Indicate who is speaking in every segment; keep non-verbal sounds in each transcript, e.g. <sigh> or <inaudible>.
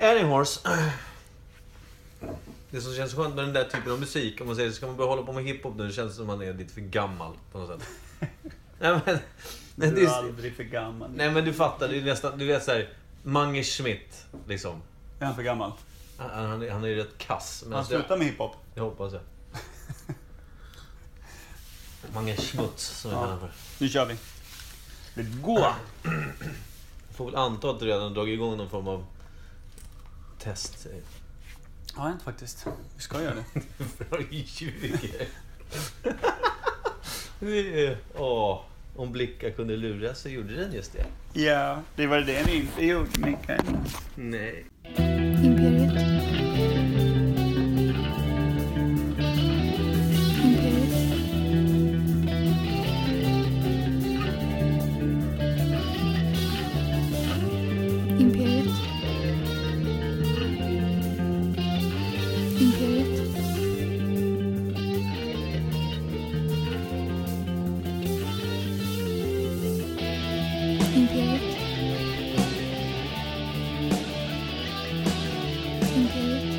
Speaker 1: Any
Speaker 2: <clears throat>
Speaker 1: horse. Det som känns skönt med den där typen av musik, om man säger så, ska man börja hålla på med hiphop nu, det känns som man är lite för gammal på något
Speaker 2: <laughs>
Speaker 1: sätt. nej, men, nej,
Speaker 2: Du
Speaker 1: det
Speaker 2: är
Speaker 1: är,
Speaker 2: aldrig för gammal.
Speaker 1: nej men du fattar, det är nästan, du vet såhär, Mange Schmidt, liksom.
Speaker 2: Är han för gammal?
Speaker 1: Han, han, är- han är ju rätt kass. Men
Speaker 2: Han
Speaker 1: det,
Speaker 2: slutar med hiphop.
Speaker 1: det hoppas
Speaker 2: <laughs>
Speaker 1: jag. Mange Schmutz, som jag
Speaker 2: Ja.
Speaker 1: kallar honom för.
Speaker 2: Nu kör vi. Let's go!
Speaker 1: Får väl anta att du redan dragit igång någon form av test.
Speaker 2: Ja, inte faktiskt. Vi ska göra det. <laughs>
Speaker 1: Från 20. Det är- Åh, om blickar kunde lura så gjorde den just det.
Speaker 2: Ja, det var det ni inte gjorde, Mikael.
Speaker 1: Nej.
Speaker 3: Imperiet. Imperiet. Imperiet. Imperiet. Imperiet. Imperiet.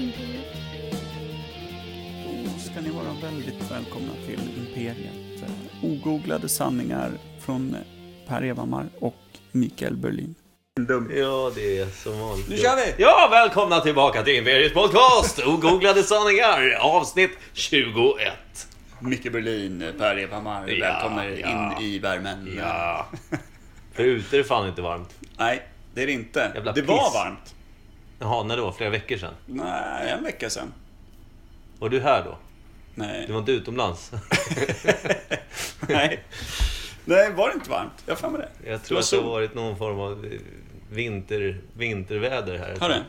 Speaker 3: Imperiet.
Speaker 2: Då ska ni vara väldigt välkomna till Imperiet. Eh, Ogooglade sanningar från eh, Per Evhammar och Mikael Berlin.
Speaker 1: Ja, det är som vanligt.
Speaker 2: Nu kör vi!
Speaker 1: Ja, välkomna tillbaka till Imperiets podcast! Ogooglade sanningar, avsnitt 21.
Speaker 2: Micke Berlin, Per Evhammar,
Speaker 1: Ja, välkomna er ja. in
Speaker 2: i värmen.
Speaker 1: Ja. För ute är det fan inte varmt.
Speaker 2: Nej, det är det inte.
Speaker 1: Jävla
Speaker 2: det
Speaker 1: piss.
Speaker 2: var varmt.
Speaker 1: Jaha, när då? Flera veckor sedan?
Speaker 2: Nej, en vecka sedan.
Speaker 1: Var du här då?
Speaker 2: Nej.
Speaker 1: Du var inte
Speaker 2: <laughs>
Speaker 1: utomlands?
Speaker 2: Nej. Nej, var det inte varmt? Jag har för mig det.
Speaker 1: Jag
Speaker 2: Det
Speaker 1: tror
Speaker 2: var
Speaker 1: att det har
Speaker 2: sol.
Speaker 1: varit någon form av eh, vinter, vinterväder här.
Speaker 2: Har det?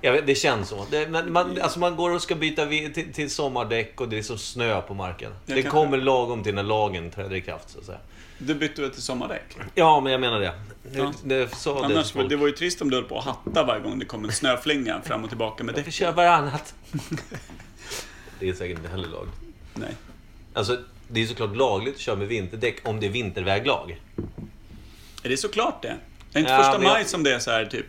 Speaker 1: Jag vet, det känns så. Det, men
Speaker 2: Mm.
Speaker 1: man, alltså man går och ska byta vi, till, till sommardäck och det är som snö på marken.
Speaker 2: Jag
Speaker 1: det
Speaker 2: kan-
Speaker 1: kommer lagom till när lagen träder i kraft, så att säga.
Speaker 2: Du bytte väl till sommardäck?
Speaker 1: Ja, men jag menar det. Det,
Speaker 2: Ja.
Speaker 1: det sa det
Speaker 2: Annars,
Speaker 1: till folk.
Speaker 2: det var ju trist om du höll på att hatta varje gång det kom en snöflinga fram och tillbaka med
Speaker 1: Jag får
Speaker 2: däck.
Speaker 1: köra varannat. <laughs> det är säkert inte heller lagligt.
Speaker 2: Nej.
Speaker 1: Alltså, det är såklart lagligt att köra med vinterdäck om det är vinterväglag.
Speaker 2: Är det såklart det? Är inte
Speaker 1: Ja,
Speaker 2: första
Speaker 1: men jag-
Speaker 2: maj som det är så här typ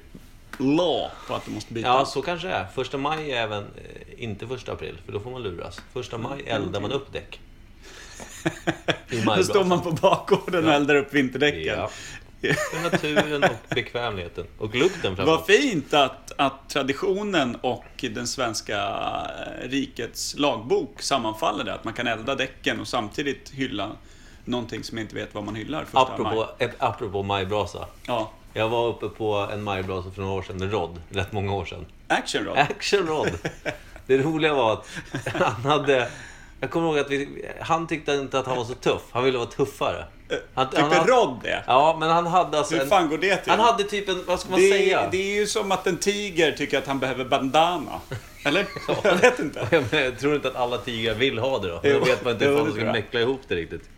Speaker 2: law på att du måste byta?
Speaker 1: Ja, så kanske det är. Första maj är även eh, inte första april, för då får man luras. Första maj eldar man upp
Speaker 2: <laughs>
Speaker 1: däck. I
Speaker 2: Mm. Då står man på bakgården och eldar upp vinterdäcken.
Speaker 1: Ja.
Speaker 2: <laughs>
Speaker 1: För naturen och bekvämligheten. Och lukten
Speaker 2: Vad
Speaker 1: framförallt.
Speaker 2: fint att, att traditionen och den svenska eh, rikets lagbok sammanfaller där. Att man kan elda däcken och samtidigt hylla någonting som jag inte vet vad man hyllar första maj.
Speaker 1: Apropå, ett, apropå majbrasa.
Speaker 2: Ja,
Speaker 1: Jag var uppe på en majbrasa för några år sedan med Rod. Rätt många år sedan.
Speaker 2: action Rod.
Speaker 1: Action Rod. Det roliga var att han hade... Jag kommer ihåg att vi, han tyckte inte att han var så tuff. Han ville vara tuffare. Han,
Speaker 2: Tyckte Rod det?
Speaker 1: Ja, men han hade alltså...
Speaker 2: Typ Hur
Speaker 1: en-
Speaker 2: fan går det till?
Speaker 1: Han hade typ en, vad ska man säga?
Speaker 2: det, det är ju som att en tiger tycker att han
Speaker 1: <laughs>
Speaker 2: behöver bandana. Eller? Jag vet inte.
Speaker 1: Ja, men <laughs> Jag tror inte att alla tigrar vill ha det då.
Speaker 2: Jo,
Speaker 1: Då vet man inte
Speaker 2: jo,
Speaker 1: hur
Speaker 2: det
Speaker 1: man
Speaker 2: tror
Speaker 1: ska
Speaker 2: jag.
Speaker 1: mäckla ihop det riktigt.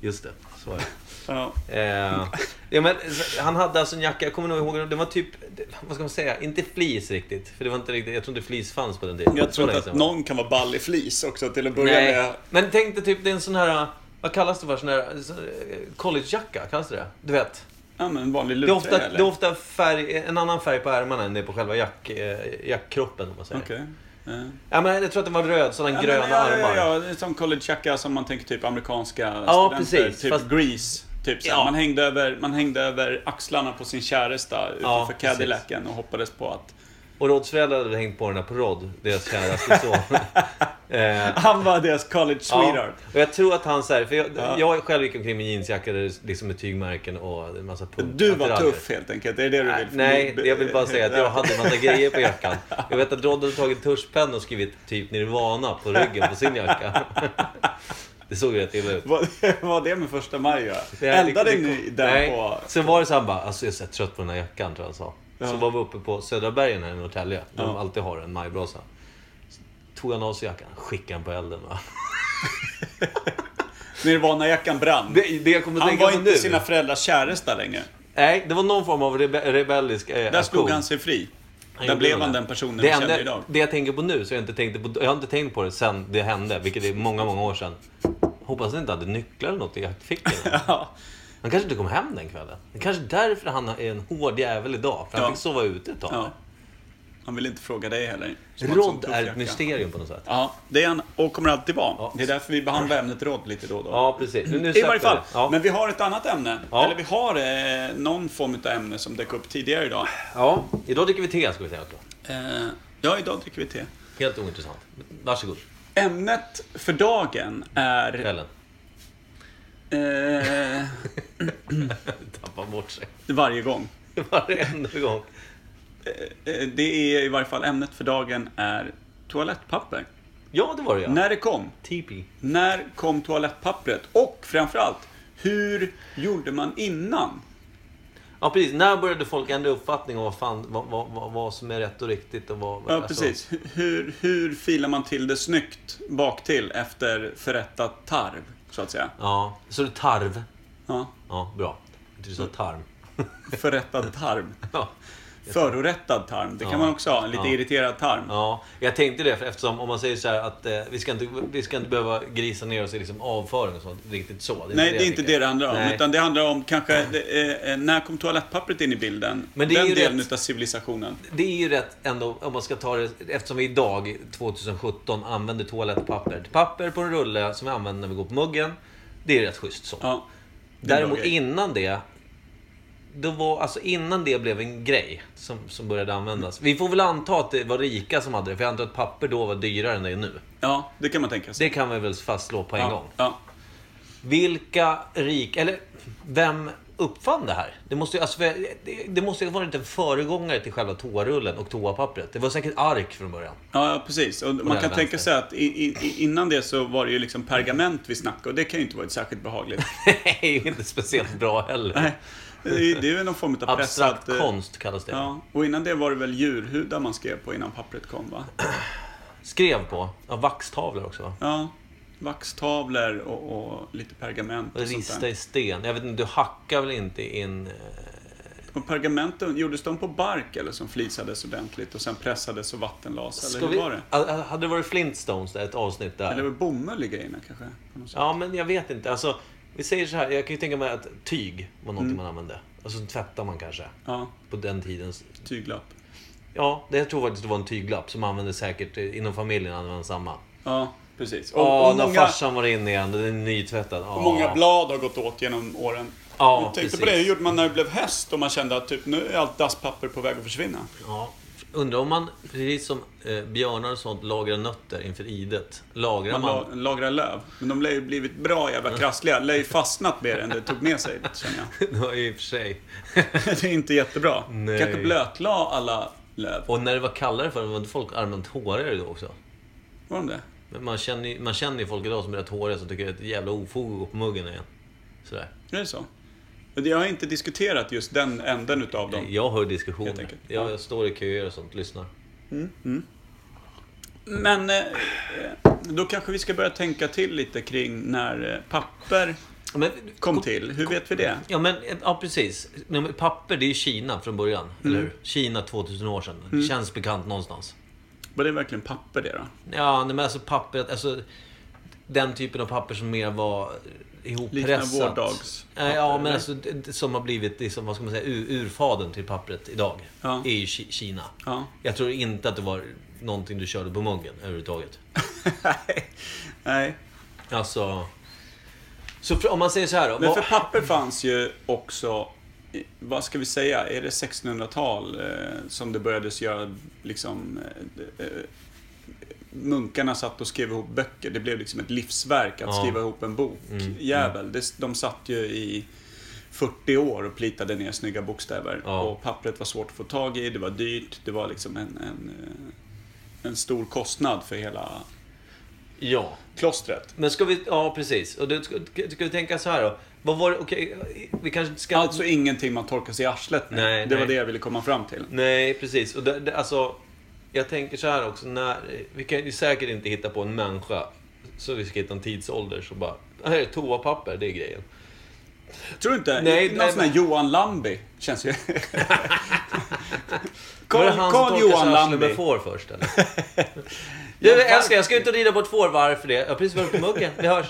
Speaker 1: Just det, så är det.
Speaker 2: Ja.
Speaker 1: Eh, ja, men, så- han hade alltså en jacka, jag kommer nog ihåg, det var typ, det- vad ska man säga, inte fleece riktigt. För det var inte riktigt, jag tror inte fleece fanns på den tiden.
Speaker 2: Jag tror
Speaker 1: Så
Speaker 2: inte
Speaker 1: länge
Speaker 2: att
Speaker 1: sedan var det.
Speaker 2: någon kan vara ball i flis också till att börja
Speaker 1: Nej,
Speaker 2: med.
Speaker 1: men tänk dig typ, det är en sån här, vad kallas det för, sån här så- collegejacka, kallas det det? Du vet.
Speaker 2: Ja men en vanlig
Speaker 1: Det är
Speaker 2: lutträ
Speaker 1: ofta,
Speaker 2: eller?
Speaker 1: det är ofta färg, en annan färg på ärmarna än det är på själva jack, eh, jackkroppen om man säger.
Speaker 2: Okej. Ja.
Speaker 1: Ja, men jag tror att den var röd, sådana gröna
Speaker 2: ja, men,
Speaker 1: armar.
Speaker 2: Ja, ja, ja, det är som collegejacka som man tänker typ amerikanska studenter.
Speaker 1: precis,
Speaker 2: Typ
Speaker 1: fast-
Speaker 2: Grease. Typ så här,
Speaker 1: Ja.
Speaker 2: man, hängde över, man hängde över axlarna på sin käresta utanför
Speaker 1: precis.
Speaker 2: Cadillacen och hoppades på att
Speaker 1: Och Rods föräldrar hade hängt på den här på Rod, deras käraste
Speaker 2: <laughs>
Speaker 1: son. eh,
Speaker 2: han var deras college sweetheart.
Speaker 1: Ja, och jag tror att han så här, för jag,
Speaker 2: Ja.
Speaker 1: jag själv gick omkring med jeansjacka där det liksom med tygmärken och en massa pump.
Speaker 2: Du var
Speaker 1: attiraljer.
Speaker 2: tuff helt enkelt, är det det du
Speaker 1: Nej,
Speaker 2: vill?
Speaker 1: nej, jag vill bara säga att
Speaker 2: <laughs>
Speaker 1: jag hade en massa grejer på jackan. Jag vet att Rod hade tagit tuschpenna och skrivit typ Nirvana på ryggen på sin
Speaker 2: <laughs>
Speaker 1: jacka. Det såg rätt illa ut.
Speaker 2: Vad <laughs> vad det med första maj att
Speaker 1: Det
Speaker 2: göra?
Speaker 1: här-
Speaker 2: Eldade
Speaker 1: det- det-
Speaker 2: ni den
Speaker 1: Nej.
Speaker 2: på...
Speaker 1: Sen var det så han bara, alltså jag är så här trött på den här jackan, tror jag han sa. Så var vi uppe på Södra bergen här i Norrtälje, där de
Speaker 2: Ja.
Speaker 1: alltid har en majbrasa. Så Tog han av sig jackan, skickade den på elden. Va?
Speaker 2: Nirvana-jackan brann.
Speaker 1: Det, det jag kommer att
Speaker 2: Han
Speaker 1: tänka
Speaker 2: var
Speaker 1: på
Speaker 2: inte
Speaker 1: nu.
Speaker 2: sina föräldrars käresta längre.
Speaker 1: Nej, det var någon form av rebe- rebellisk eh,
Speaker 2: Där slog han sig fri. Där blev han den personen vi
Speaker 1: det
Speaker 2: känner
Speaker 1: enda-
Speaker 2: idag. <laughs>
Speaker 1: Det jag tänker på nu, så jag, inte tänkte på, jag har inte tänkt på det sen det hände, vilket är många, många år sedan. Hoppas han inte hade nycklar eller något i
Speaker 2: <laughs>
Speaker 1: jackfickan.
Speaker 2: Ja.
Speaker 1: Han kanske inte kom hem den kvällen. Det är kanske är därför han är en hård jävel idag. För han
Speaker 2: Ja.
Speaker 1: fick sova ute ett tag.
Speaker 2: ja. Han vill inte fråga dig heller. som har en sån
Speaker 1: Rodd
Speaker 2: tuff
Speaker 1: är ett
Speaker 2: jacka.
Speaker 1: mysterium på något sätt.
Speaker 2: Ja, det är han och kommer alltid vara.
Speaker 1: Ja.
Speaker 2: Det är därför vi behandlar ämnet rodd lite då och då.
Speaker 1: Ja, precis. Nu, nu
Speaker 2: I
Speaker 1: släpper
Speaker 2: varje fall,
Speaker 1: det. Ja.
Speaker 2: men vi har ett annat ämne.
Speaker 1: Ja.
Speaker 2: Eller vi har eh, någon form av ämne som dök upp tidigare idag.
Speaker 1: ja, idag dricker vi te ska vi säga också.
Speaker 2: Eh, ja, idag dricker vi te.
Speaker 1: Helt ointressant. Varsågod.
Speaker 2: Ämnet för dagen är... <clears throat>
Speaker 1: Kvällen. <laughs>
Speaker 2: Eh,
Speaker 1: Tappar bort sig.
Speaker 2: varje gång.
Speaker 1: Varenda gång.
Speaker 2: Eh, det är i varje fall ämnet för dagen är toalettpapper.
Speaker 1: Ja, det var det ja.
Speaker 2: När det kom.
Speaker 1: Tipi.
Speaker 2: När kom toalettpappret? Och framförallt, hur gjorde man innan?
Speaker 1: Ja, precis. När började folk ändra uppfattning om vad, fan, vad, vad, vad, vad som är rätt och riktigt? Och vad,
Speaker 2: Ja,
Speaker 1: alltså-
Speaker 2: precis. Hur- Hur, hur filar man till det snyggt bak till efter förrättat tarv, så att säga?
Speaker 1: Ja, så det är tarv.
Speaker 2: Ja,
Speaker 1: Ja, bra. Jag tyckte Du sa
Speaker 2: Mm.
Speaker 1: tarm.
Speaker 2: förrättad
Speaker 1: <laughs>
Speaker 2: tarm.
Speaker 1: Ja.
Speaker 2: Förorättad tarm, det kan
Speaker 1: Ja.
Speaker 2: man också ha. Lite
Speaker 1: Ja.
Speaker 2: irriterad tarm.
Speaker 1: ja, jag tänkte det för eftersom om man säger så här att eh, vi, ska inte, vi ska inte behöva grisa ner oss i liksom avföring och sånt. Riktigt så.
Speaker 2: Nej,
Speaker 1: jag
Speaker 2: det är inte
Speaker 1: tänker.
Speaker 2: det det handlar om.
Speaker 1: Nej.
Speaker 2: Utan det handlar om kanske, eh, eh, när kom toalettpappret in i bilden?
Speaker 1: Men det är
Speaker 2: Den
Speaker 1: ju
Speaker 2: delen
Speaker 1: rätt.
Speaker 2: utav civilisationen.
Speaker 1: Det är ju rätt ändå, om man ska ta det, eftersom vi idag, 2017, använder toalettpapper. Papper på en rulle som vi använder när vi går på muggen. Det är rätt schysst så.
Speaker 2: Ja. det är en bra
Speaker 1: Däremot
Speaker 2: grej.
Speaker 1: innan det, då var, alltså innan det blev en grej som, som började användas. Vi får väl anta att det var rika som hade det, för jag antar att papper då var dyrare än det är nu.
Speaker 2: Ja, det kan man tänka sig.
Speaker 1: Det kan vi väl fastslå på en gång.
Speaker 2: ja, ja.
Speaker 1: Vilka rik... Eller vem uppfann det här? Det måste ju alltså, det, det måste ju ha varit en föregångare till själva toarullen och toapappret. Det var säkert ark från början. <laughs>
Speaker 2: Ja, ja, precis. Och man
Speaker 1: den
Speaker 2: kan tänka
Speaker 1: vänster.
Speaker 2: sig att i, i, i- innan det så var det ju liksom pergament vi snackade och det kan ju inte varit särskilt behagligt.
Speaker 1: <laughs> Nej, inte speciellt bra heller.
Speaker 2: Nej, det är det är ju någon form av
Speaker 1: Abstrakt
Speaker 2: pressat... eh,
Speaker 1: konst kallas det.
Speaker 2: Ja, och innan det var det väl djurhudar man skrev på innan pappret kom, va?
Speaker 1: Skrev på. Ja, vaxtavlor också. va?
Speaker 2: Ja, vaxtavlor och, och lite pergament och sånt
Speaker 1: Rista
Speaker 2: där.
Speaker 1: i sten. Jag vet inte, du hackar väl inte in... eh,
Speaker 2: Och pergamenten, gjordes de på bark eller som flisades ordentligt och sen pressades och vattenlades? Eller hur var det?
Speaker 1: Ah, ah, Hade det varit Flintstones, där, ett avsnitt där?
Speaker 2: Eller var det bomull i grejerna kanske? På något sätt.
Speaker 1: Ja, men jag vet inte. Alltså, vi säger så här, jag kan ju tänka mig att tyg var någonting man använde. Och så tvättar man kanske.
Speaker 2: Mm. Ja,
Speaker 1: På den tidens...
Speaker 2: tyglapp.
Speaker 1: Ja, det jag tror faktiskt det var en tyglapp som användes säkert eh, inom familjen. Använde man samma.
Speaker 2: Ja, precis. Och,
Speaker 1: Ja,
Speaker 2: och
Speaker 1: när
Speaker 2: många,
Speaker 1: farsan var inne igen. Den är nytvättad. Ja.
Speaker 2: och många blad har gått åt genom åren.
Speaker 1: Ja,
Speaker 2: jag tänkte på
Speaker 1: precis.
Speaker 2: det, hur gjorde man när det blev höst och man kände att typ, nu är allt dasspapper på väg att försvinna?
Speaker 1: Ja. Undrar om man, precis som eh, björnar och sånt, lagrar nötter inför idet. Lagrar
Speaker 2: Man
Speaker 1: man...
Speaker 2: la, lagrar löv. Men de lär ju blivit bra jävla krassliga. Lär ju fastnat mer än det tog
Speaker 1: <laughs>
Speaker 2: med sig, känner
Speaker 1: <laughs>
Speaker 2: jag.
Speaker 1: Ja, i och för sig. <laughs>
Speaker 2: Det är inte jättebra.
Speaker 1: Nej.
Speaker 2: Kanske blötlade alla löv.
Speaker 1: Och när det var kallare förr, var inte folk allmänt hårigare då också?
Speaker 2: Var de det?
Speaker 1: Men man känner, ju- man känner ju folk idag som är rätt håriga som tycker att det är ett jävla ofog att gå på muggen igen. Sådär.
Speaker 2: Är det så? Men Jag har inte diskuterat just den änden utav dem.
Speaker 1: Jag hör diskussioner.
Speaker 2: Helt enkelt.
Speaker 1: jag, jag står i köer och sånt, lyssnar.
Speaker 2: Men eh, då kanske vi ska börja tänka till lite kring när eh, papper
Speaker 1: Ja, Men,
Speaker 2: kom till. Hur vet vi det?
Speaker 1: ja, men, ja precis. Nej, men Papper, det är ju Kina från början.
Speaker 2: Mm.
Speaker 1: Eller hur? Kina 2000 år sedan. Känns bekant någonstans.
Speaker 2: Var det verkligen papper det då?
Speaker 1: Ja, nej, men alltså papper, alltså den typen av papper som mer var ihoppressat.
Speaker 2: Liknar vårdagspapper,
Speaker 1: Ja,
Speaker 2: eller?
Speaker 1: men alltså det- som har blivit, liksom, vad ska man säga, ur, urfaden till pappret idag.
Speaker 2: Ja.
Speaker 1: Är ju Ki- Kina.
Speaker 2: Ja.
Speaker 1: Jag tror inte att det var någonting du körde på muggen överhuvudtaget.
Speaker 2: Nej.
Speaker 1: Alltså... Så för- om man säger så här då.
Speaker 2: Men
Speaker 1: vad-
Speaker 2: för papper fanns ju också, i- vad ska vi säga, är det 1600-tal eh, som det började göra liksom... Eh, eh, munkarna satt och skrev ihop böcker. Det blev liksom ett livsverk att
Speaker 1: Ja. Mm.
Speaker 2: skriva ihop en bok. Jävel, det, de satt ju i 40 år och plitade ner snygga bokstäver.
Speaker 1: Ja.
Speaker 2: Och pappret var svårt att få tag i, det var dyrt, det var liksom en, en, eh, en stor kostnad för hela
Speaker 1: Ja.
Speaker 2: klostret.
Speaker 1: Men ska vi... Ja, precis. Och då ska, ska vi tänka så här då. Vad var det... Okej, vi kanske inte ska...
Speaker 2: Alltså ingenting man torkar sig i arslet med.
Speaker 1: Nej,
Speaker 2: det var
Speaker 1: nej.
Speaker 2: det jag ville komma fram till.
Speaker 1: Nej, precis. Och det, det, alltså, jag tänker så här också. När, vi kan ju säkert inte hitta på en människa. Så vi ska hitta en tidsålder som bara... Här är toapapper, det är grejen.
Speaker 2: Tror du inte?
Speaker 1: Nej,
Speaker 2: Någon
Speaker 1: nej,
Speaker 2: sån här Johan Lambi
Speaker 1: <laughs>
Speaker 2: känns ju...
Speaker 1: var det
Speaker 2: Carl,
Speaker 1: han som
Speaker 2: Carl
Speaker 1: torkade sig
Speaker 2: Johan
Speaker 1: i arslet
Speaker 2: Lambi.
Speaker 1: <laughs> med får först eller? Du,
Speaker 2: varför?
Speaker 1: älskling, jag ska ut och rida på ett får. Varför det? Jag har precis varit på muggen. Vi <laughs> hörs.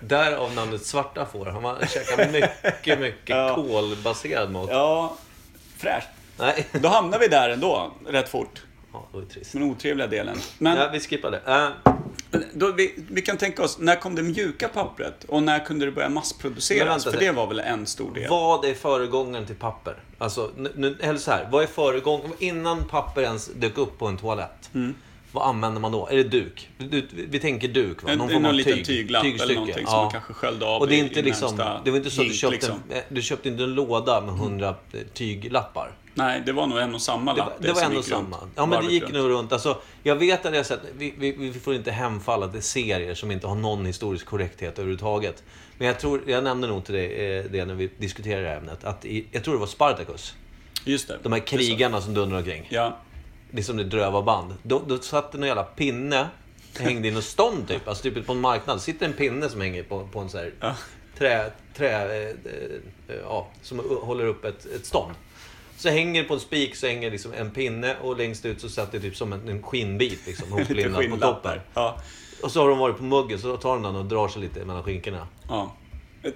Speaker 1: Därav namnet Svarta får. Han har käkat mycket, <laughs> mycket
Speaker 2: Ja.
Speaker 1: kolbaserad mat.
Speaker 2: Ja, fräscht.
Speaker 1: Nej. <laughs>
Speaker 2: Då hamnar vi där ändå, rätt fort.
Speaker 1: Ja, det var ju trist.
Speaker 2: Den otrevliga delen. Men
Speaker 1: Ja, vi skippar det. Eh,
Speaker 2: då, vi, vi kan tänka oss, när kom det mjuka pappret? Och när kunde det börja
Speaker 1: Men
Speaker 2: massproduceras?
Speaker 1: vänta
Speaker 2: För
Speaker 1: lite.
Speaker 2: det var väl en stor del?
Speaker 1: vad är föregångaren till papper? Alltså, nu, nu, eller så här. Vad är föregångaren? Innan papper ens dök upp på en toalett. Vad använder man då? Är det duk? Du, vi tänker duk, va?
Speaker 2: En,
Speaker 1: form
Speaker 2: någon,
Speaker 1: av
Speaker 2: liten
Speaker 1: tyg-
Speaker 2: tyglapp eller
Speaker 1: tygstycke.
Speaker 2: någonting
Speaker 1: Ja.
Speaker 2: som man kanske sköljde av
Speaker 1: Och det, är
Speaker 2: i-
Speaker 1: inte
Speaker 2: i
Speaker 1: liksom,
Speaker 2: närmsta
Speaker 1: det var inte så att du
Speaker 2: hink,
Speaker 1: köpte,
Speaker 2: liksom. Mm.
Speaker 1: en, eh, du köpte inte en låda med 100 tyglappar.
Speaker 2: Nej, det var nog en och samma
Speaker 1: Det,
Speaker 2: lapp.
Speaker 1: var- det var
Speaker 2: som
Speaker 1: ändå
Speaker 2: gick runt
Speaker 1: samma. Ja, men det
Speaker 2: varvet
Speaker 1: gick
Speaker 2: runt.
Speaker 1: nog runt. Alltså, jag vet att jag har sett, vi, vi, vi får inte hemfalla till serier som inte har någon historisk korrekthet överhuvudtaget. Men jag tror, jag nämnde nog till dig eh, det när vi diskuterade det här ämnet, att i, jag tror det var Spartacus.
Speaker 2: Just det.
Speaker 1: De här
Speaker 2: Just det.
Speaker 1: krigarna som dundrar omkring.
Speaker 2: Ja.
Speaker 1: Det är som liksom det dröva band. Då, då satt det någon jävla pinne, hängde i någon stånd typ. Alltså typ på en marknad. Sitter en pinne som hänger på, på en sån här
Speaker 2: Ja.
Speaker 1: trä, trä eh, eh, ja, som håller upp ett, ett stånd. Så hänger det på en spik så hänger liksom en pinne och längst ut så satt det typ som en, en skinnbit liksom,
Speaker 2: <laughs> Lite
Speaker 1: hoplinnad på toppen.
Speaker 2: skinnlappar. Ja.
Speaker 1: Och så har de varit på muggen så tar de den och drar sig lite mellan skinkorna.
Speaker 2: ja. <laughs>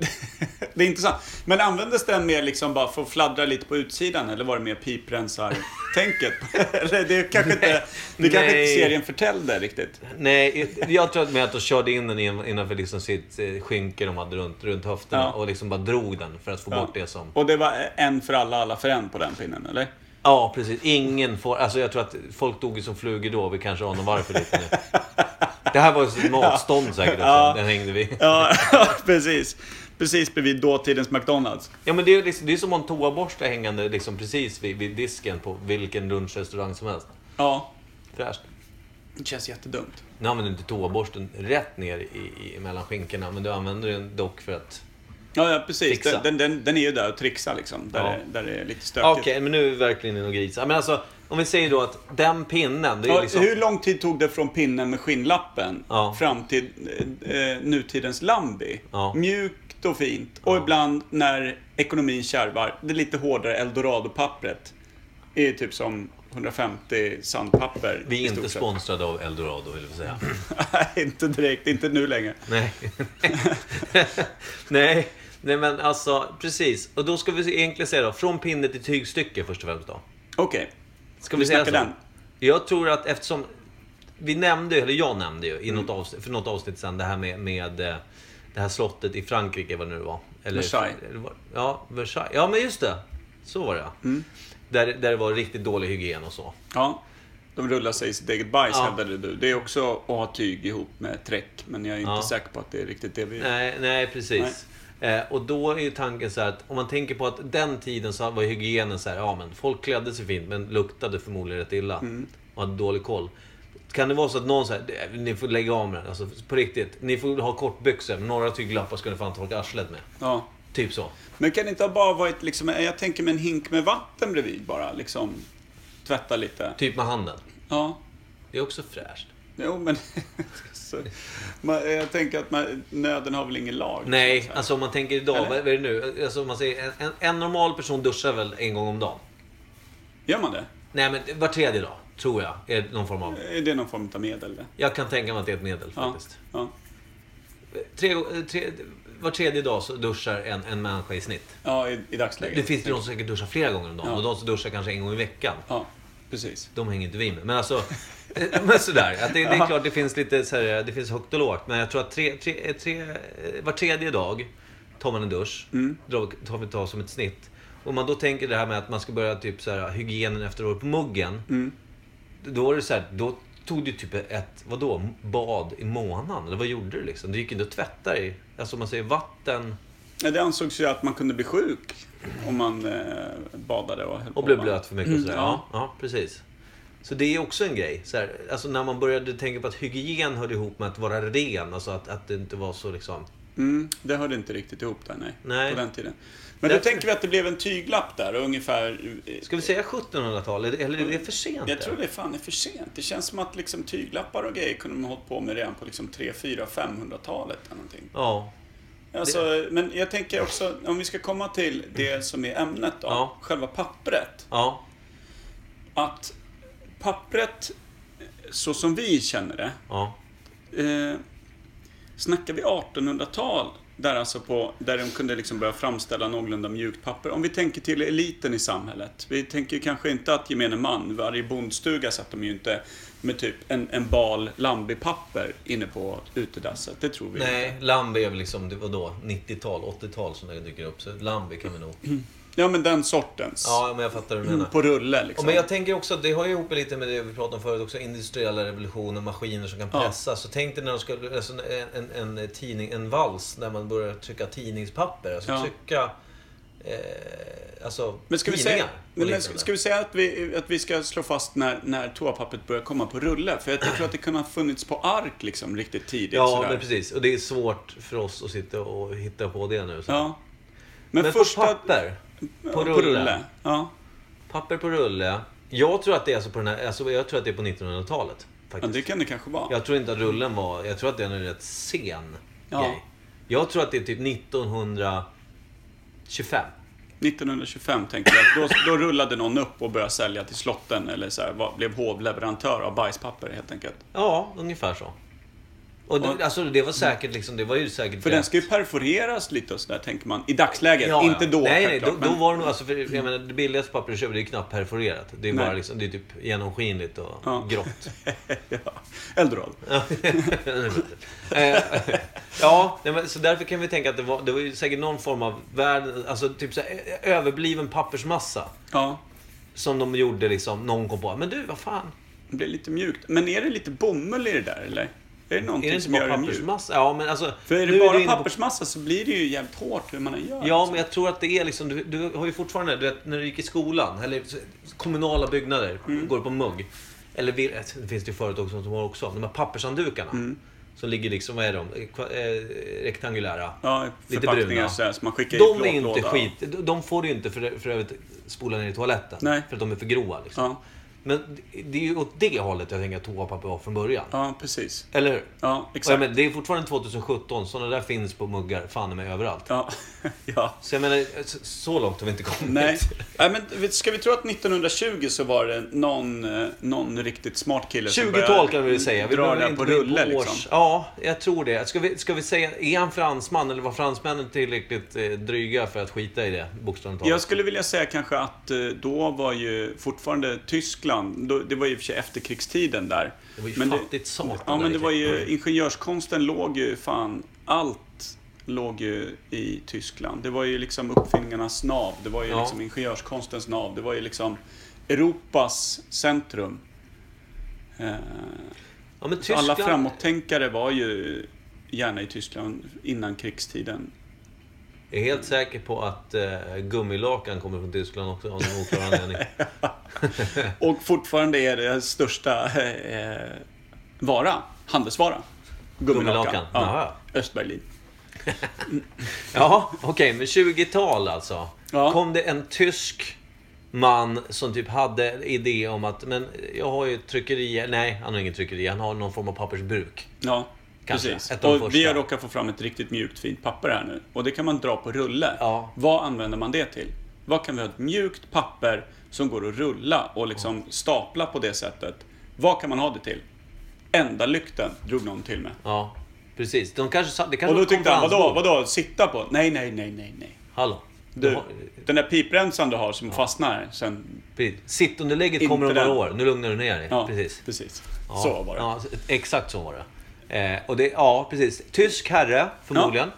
Speaker 2: det är intressant. Men användes den mer liksom bara för att fladdra lite på utsidan eller var det mer piprensar-tänket? <laughs> eller det kanske inte, det kanske inte
Speaker 1: Nej.
Speaker 2: serien förtällde riktigt.
Speaker 1: Nej, jag tror att med att de körde in den in- innanför liksom sitt eh, skynke de hade runt, runt höfterna
Speaker 2: Ja.
Speaker 1: och liksom bara drog den för att få bort det som...
Speaker 2: Och det var en för alla, alla för en på den pinnen, eller?
Speaker 1: Ja, precis. Ingen får... Alltså jag tror att folk dog ju som flugor då. Vi kanske anar varför lite nu. Det här var ju ett matstånd säkert också.
Speaker 2: Ja.
Speaker 1: Den hängde vi.
Speaker 2: Ja, <laughs> precis. Precis bredvid dåtidens McDonalds.
Speaker 1: Ja, men det är, ju liksom, det är som att ha en toaborste hängande liksom precis vid, vid disken på vilken lunchrestaurang som helst.
Speaker 2: Ja,
Speaker 1: Fräscht.
Speaker 2: det känns jättedumt.
Speaker 1: Nu använder du inte toaborsten rätt ner i, i, mellan skinkorna, men du använder den dock för att...
Speaker 2: Ja, ja precis.
Speaker 1: Trixa.
Speaker 2: Den, den, den, den är ju där och trixar liksom. Där,
Speaker 1: Ja.
Speaker 2: det, där det är lite
Speaker 1: Okej,
Speaker 2: stökigt.
Speaker 1: men nu är vi verkligen inne och grisar. Men alltså, om vi säger då att den pinnen, det är
Speaker 2: Ja,
Speaker 1: liksom...
Speaker 2: Hur lång tid tog det från pinnen med skinnlappen
Speaker 1: Ja.
Speaker 2: fram till eh, nutidens Lambi?
Speaker 1: Ja.
Speaker 2: Mjukt och fint. Och ibland när ekonomin kärvar, det lite hårdare eldorado-pappret. är typ som 150 sandpapper.
Speaker 1: Vi
Speaker 2: i
Speaker 1: är inte
Speaker 2: stort sett.
Speaker 1: sponsrade av Eldorado, vill jag säga.
Speaker 2: <laughs> Nej, inte direkt. Inte nu längre.
Speaker 1: Nej. Nej. Nej, men alltså precis. Och då ska vi egentligen säga då, från pinne till tygstycke först och främst då.
Speaker 2: Okej.
Speaker 1: Ska
Speaker 2: Vi
Speaker 1: vi, säga så?
Speaker 2: snackar den.
Speaker 1: Jag tror att eftersom, vi nämnde ju, eller jag nämnde ju i något
Speaker 2: Mm.
Speaker 1: avsnitt, för något avsnitt sedan det här med, med eh, det här slottet i Frankrike, vad det nu var. Eller,
Speaker 2: Versailles.
Speaker 1: eller var- Ja, Versailles. Ja, men just det. Så var det mm. där, där det var riktigt dålig hygien och så.
Speaker 2: Ja. De rullar sig i sitt eget bajs
Speaker 1: Ja.
Speaker 2: hävdade du. Det är också att ha tyg ihop med träck. Men jag är inte
Speaker 1: Ja.
Speaker 2: säker på att det är riktigt det vi...
Speaker 1: Nej, nej precis. Eh, och då är ju tanken så här att om man tänker på att den tiden så var hygienen så här, ja men folk klädde sig fint men luktade förmodligen rätt illa.
Speaker 2: Mm.
Speaker 1: Och hade dålig koll. Kan det vara så att någon säger, ni får lägga av med den, alltså på riktigt. Ni får ha kortbyxor, men några tyglappar ska ni fan torka arslet med.
Speaker 2: Ja.
Speaker 1: Typ så.
Speaker 2: Men kan det inte ha bara varit liksom, jag tänker med en hink med vatten bredvid bara, liksom tvätta lite.
Speaker 1: Typ med handen.
Speaker 2: Ja,
Speaker 1: Det är också fräscht.
Speaker 2: jo men... <laughs> så, man, jag tänker att man, nöden har väl ingen lag? så
Speaker 1: Nej,
Speaker 2: här.
Speaker 1: alltså om man tänker idag,
Speaker 2: Eller?
Speaker 1: vad vad är det nu? Alltså om man säger, en- en, en normal person duschar väl en gång om dagen?
Speaker 2: Gör man det?
Speaker 1: Nej men var tredje dag, tror jag, är någon form av...
Speaker 2: Är det någon form av medel? Det?
Speaker 1: Jag kan tänka mig att det är ett medel faktiskt.
Speaker 2: Ja,
Speaker 1: tre, eh, tre, var tredje dag så duschar en, en människa i snitt.
Speaker 2: ja i, i dagsläget.
Speaker 1: Det finns ju de som säkert duschar flera gånger om dagen
Speaker 2: Ja.
Speaker 1: och de som duschar kanske en gång i veckan.
Speaker 2: Ja, precis.
Speaker 1: De hänger inte vi med. Men alltså, eh, men sådär. Att det, det är klart det finns lite så här, det finns högt och lågt. Men jag tror att tre, tre, eh, tre, eh, var tredje dag tar man en dusch. Drar, tar vi ta som ett snitt. Om man då tänker det här med att man ska börja typ så här, hygienen efteråt på muggen. Då är det så här, då tog du typ ett, vadå, bad i månaden? Eller vad gjorde du liksom? Du gick inte och tvättade dig. Alltså om man säger vatten
Speaker 2: Nej, Det ansågs ju att man kunde bli sjuk om man eh, badade och höll på,
Speaker 1: och blev
Speaker 2: va?
Speaker 1: blöt för mycket och
Speaker 2: Mm,
Speaker 1: sådär.
Speaker 2: ja.
Speaker 1: Ja. ja, precis. Så det är också en grej. Så här, alltså när man började tänka på att hygien hörde ihop med att vara ren. Alltså att, att det inte var så liksom...
Speaker 2: Mm, det hörde inte riktigt ihop där, nej.
Speaker 1: Nej.
Speaker 2: På den tiden. Men då
Speaker 1: Därför-
Speaker 2: tänker vi att det blev en tyglapp där och ungefär... eh,
Speaker 1: Ska vi säga 1700-tal? Eller eller är det för sent?
Speaker 2: Jag tror det fan är för sent. Det känns som att liksom tyglappar och grejer kunde man ha hållit på med redan på liksom 3, 4, 500-talet eller någonting.
Speaker 1: Ja.
Speaker 2: Alltså, Men jag tänker också, om vi ska komma till det som är ämnet då,
Speaker 1: Ja.
Speaker 2: själva pappret.
Speaker 1: Ja.
Speaker 2: Att pappret så som vi känner det,
Speaker 1: Ja.
Speaker 2: eh, snackar vi 1800-tal, där, alltså på, där de kunde liksom börja framställa någorlunda mjukt papper. Om vi tänker till eliten i samhället. Vi tänker kanske inte att gemene man, varje bondstuga satt de ju inte med typ en, en bal lambipapper inne på utedasset. Det tror vi inte.
Speaker 1: Nej, Lambi är väl liksom, det var då 90-tal, 80-tal som det dyker upp. Så Lambi kan vi nog...
Speaker 2: Mm. Ja, men den sortens.
Speaker 1: Ja, men jag fattar vad du menar.
Speaker 2: på rulle liksom.
Speaker 1: Ja, men jag tänker också, det har ju ihop lite med det vi pratade om förut också, industriella revolutionen, maskiner som kan
Speaker 2: Ja.
Speaker 1: pressa. Så tänk dig när de skulle, alltså en, en, en tidning, en vals, när man börjar trycka tidningspapper. Alltså
Speaker 2: Ja.
Speaker 1: trycka, eh, alltså
Speaker 2: Men ska vi,
Speaker 1: tidningar
Speaker 2: säga,
Speaker 1: och
Speaker 2: nej, men
Speaker 1: liknande.
Speaker 2: ska vi säga att vi, att vi ska slå fast när, när toapappret börjar komma på rulle? För jag tror att det kunde ha funnits på ark liksom riktigt tidigt.
Speaker 1: Ja,
Speaker 2: sådär.
Speaker 1: men precis. Och det är svårt för oss att sitta och hitta på det nu. Så.
Speaker 2: Ja. Men,
Speaker 1: Men
Speaker 2: första...
Speaker 1: på papper,
Speaker 2: ja,
Speaker 1: på rulle.
Speaker 2: På rulle. Ja.
Speaker 1: Papper på rulle. Jag tror att det är, alltså på, den här, alltså jag tror att det är på 1900-talet.
Speaker 2: ja,
Speaker 1: Faktiskt.
Speaker 2: det kan det kanske vara.
Speaker 1: Jag tror inte att rullen var... Jag tror att den är en rätt sen
Speaker 2: Ja.
Speaker 1: grej. Jag tror att det är typ 1925.
Speaker 2: 1925 tänkte jag. Då, då rullade någon upp och började sälja till slotten eller så här, var, blev hovleverantör av bajspapper helt enkelt.
Speaker 1: Ja, ungefär så. Och det,
Speaker 2: Och-
Speaker 1: alltså det var säkert liksom, det var ju säkert...
Speaker 2: För den ska ju perforeras lite och sådär tänker man. I dagsläget. inte då
Speaker 1: Nej, nej,
Speaker 2: självklart,
Speaker 1: då, då
Speaker 2: men-
Speaker 1: var det nog, alltså, för, jag menar, det billigaste pappret du köper, det är ju knappt perforerat. Det är
Speaker 2: Nej.
Speaker 1: bara liksom, det är typ genomskinligt och
Speaker 2: Ja. <laughs>
Speaker 1: grått.
Speaker 2: ja. Eldorado.
Speaker 1: Eh, ja, nej, men, så därför kan vi tänka att det var, det var ju säkert någon form av värld, alltså typ så här, ö- överbliven pappersmassa.
Speaker 2: Ja.
Speaker 1: Som de gjorde liksom, någon kom på, men du vad fan.
Speaker 2: Det blir lite mjukt. Men är det lite bomull i det där eller? Är det någonting
Speaker 1: Är det inte
Speaker 2: som gör
Speaker 1: bara
Speaker 2: det mjukt?
Speaker 1: pappersmassa? Ja men alltså.
Speaker 2: Typ För är
Speaker 1: nu
Speaker 2: det bara
Speaker 1: inne på-
Speaker 2: pappersmassa så blir det ju jävligt hårt hur man än gör.
Speaker 1: Ja men jag tror att det är liksom, du, du har ju fortfarande, du vet när du gick i skolan, eller så- kommunala byggnader,
Speaker 2: Mm.
Speaker 1: går på mugg. Eller vill- det finns det ju företag som som har också, de här pappershanddukarna.
Speaker 2: Mm.
Speaker 1: Som ligger liksom, vad är de? Kva- eh, rektangulära.
Speaker 2: Ja,
Speaker 1: Lite
Speaker 2: förpackningar
Speaker 1: bruna.
Speaker 2: sådär som man skickar i
Speaker 1: De är
Speaker 2: plåtlåda.
Speaker 1: inte skit... de- De får du ju inte för, för övrigt spola ner i toaletten.
Speaker 2: Nej.
Speaker 1: För att de är för grova. Liksom.
Speaker 2: Ja,
Speaker 1: Men det- det är ju åt det hållet jag tänker att toapapper var från början.
Speaker 2: ja, precis.
Speaker 1: Eller hur?
Speaker 2: Ja,
Speaker 1: Och jag
Speaker 2: exakt.
Speaker 1: menar, det är fortfarande 2017. Sådana där finns på muggar fan i mig överallt.
Speaker 2: Ja, <laughs> ja.
Speaker 1: Så jag menar, eh, så- så långt har vi inte kommit. <laughs>
Speaker 2: Nej. Nej, men vet- ska vi tro att 1920 så var det någon, eh, någon riktigt smart kille som
Speaker 1: 20-tal kan vi väl säga. Vi
Speaker 2: dra
Speaker 1: behöver
Speaker 2: det här
Speaker 1: inte
Speaker 2: på
Speaker 1: gå in
Speaker 2: rulle
Speaker 1: års-
Speaker 2: liksom.
Speaker 1: Ja, jag tror det. Ska vi, ska vi säga, är han fransman eller var fransmännen tillräckligt eh, dryga för att skita i det bokstavligt talat?
Speaker 2: Jag skulle vilja säga kanske att eh, då var ju fortfarande Tyskland, då, det var ju i och för sig efterkrigstiden där.
Speaker 1: Det var ju
Speaker 2: Men
Speaker 1: fattigt satan.
Speaker 2: Ja,
Speaker 1: där
Speaker 2: men det
Speaker 1: i-
Speaker 2: var ju, ingenjörskonsten låg ju fan, allt låg ju i Tyskland. Det var ju liksom uppfinningarnas nav, det var ju
Speaker 1: Ja.
Speaker 2: liksom ingenjörskonstens nav, det var ju liksom Europas centrum. Eh,
Speaker 1: Ja, men
Speaker 2: så
Speaker 1: Tyskland...
Speaker 2: alla framåttänkare var ju gärna i Tyskland innan krigstiden.
Speaker 1: Jag är helt säker på att eh, gummilakan kommer från Tyskland också av någon oklar anledning.
Speaker 2: <laughs> Och fortfarande är det största eh, vara, handelsvara.
Speaker 1: Gummilakan, jaha.
Speaker 2: Ja, Östberlin.
Speaker 1: Ja, okej, men 20-tal alltså.
Speaker 2: Ja.
Speaker 1: Kom det en tysk man som typ hade idé om att, men jag har ju ett tryckeri, nej han har ingen tryckeri, han har någon form av pappersbruk.
Speaker 2: Ja,
Speaker 1: Kanske.
Speaker 2: precis.
Speaker 1: Ett av de
Speaker 2: Och vi
Speaker 1: första.
Speaker 2: har råkat få fram ett riktigt mjukt fint papper här nu. Och det kan man dra på rulle.
Speaker 1: Ja.
Speaker 2: Vad använder man det till? Vad kan vi ha ett mjukt papper som går att rulla och liksom stapla på det sättet? Vad kan man ha det till? Ända lykten drog någon till med.
Speaker 1: Ja, precis. De kanske, sa- det kanske
Speaker 2: Och då
Speaker 1: var ett
Speaker 2: tyckte han, vadå,
Speaker 1: konferensbord.
Speaker 2: vadå, sitta på? Nej, nej, nej, nej, nej.
Speaker 1: Hallå. Du.
Speaker 2: Du,
Speaker 1: har-
Speaker 2: den där pipremsan du har som fastnar sen...
Speaker 1: precis. Sittunderlägget
Speaker 2: Inte
Speaker 1: kommer om några
Speaker 2: den.
Speaker 1: år. Nu lugnar du ner dig.
Speaker 2: Ja,
Speaker 1: precis.
Speaker 2: precis.
Speaker 1: Ja,
Speaker 2: Så var det.
Speaker 1: Ja, exakt så var det. Eh, och det. Ja, precis. Tysk herre, förmodligen.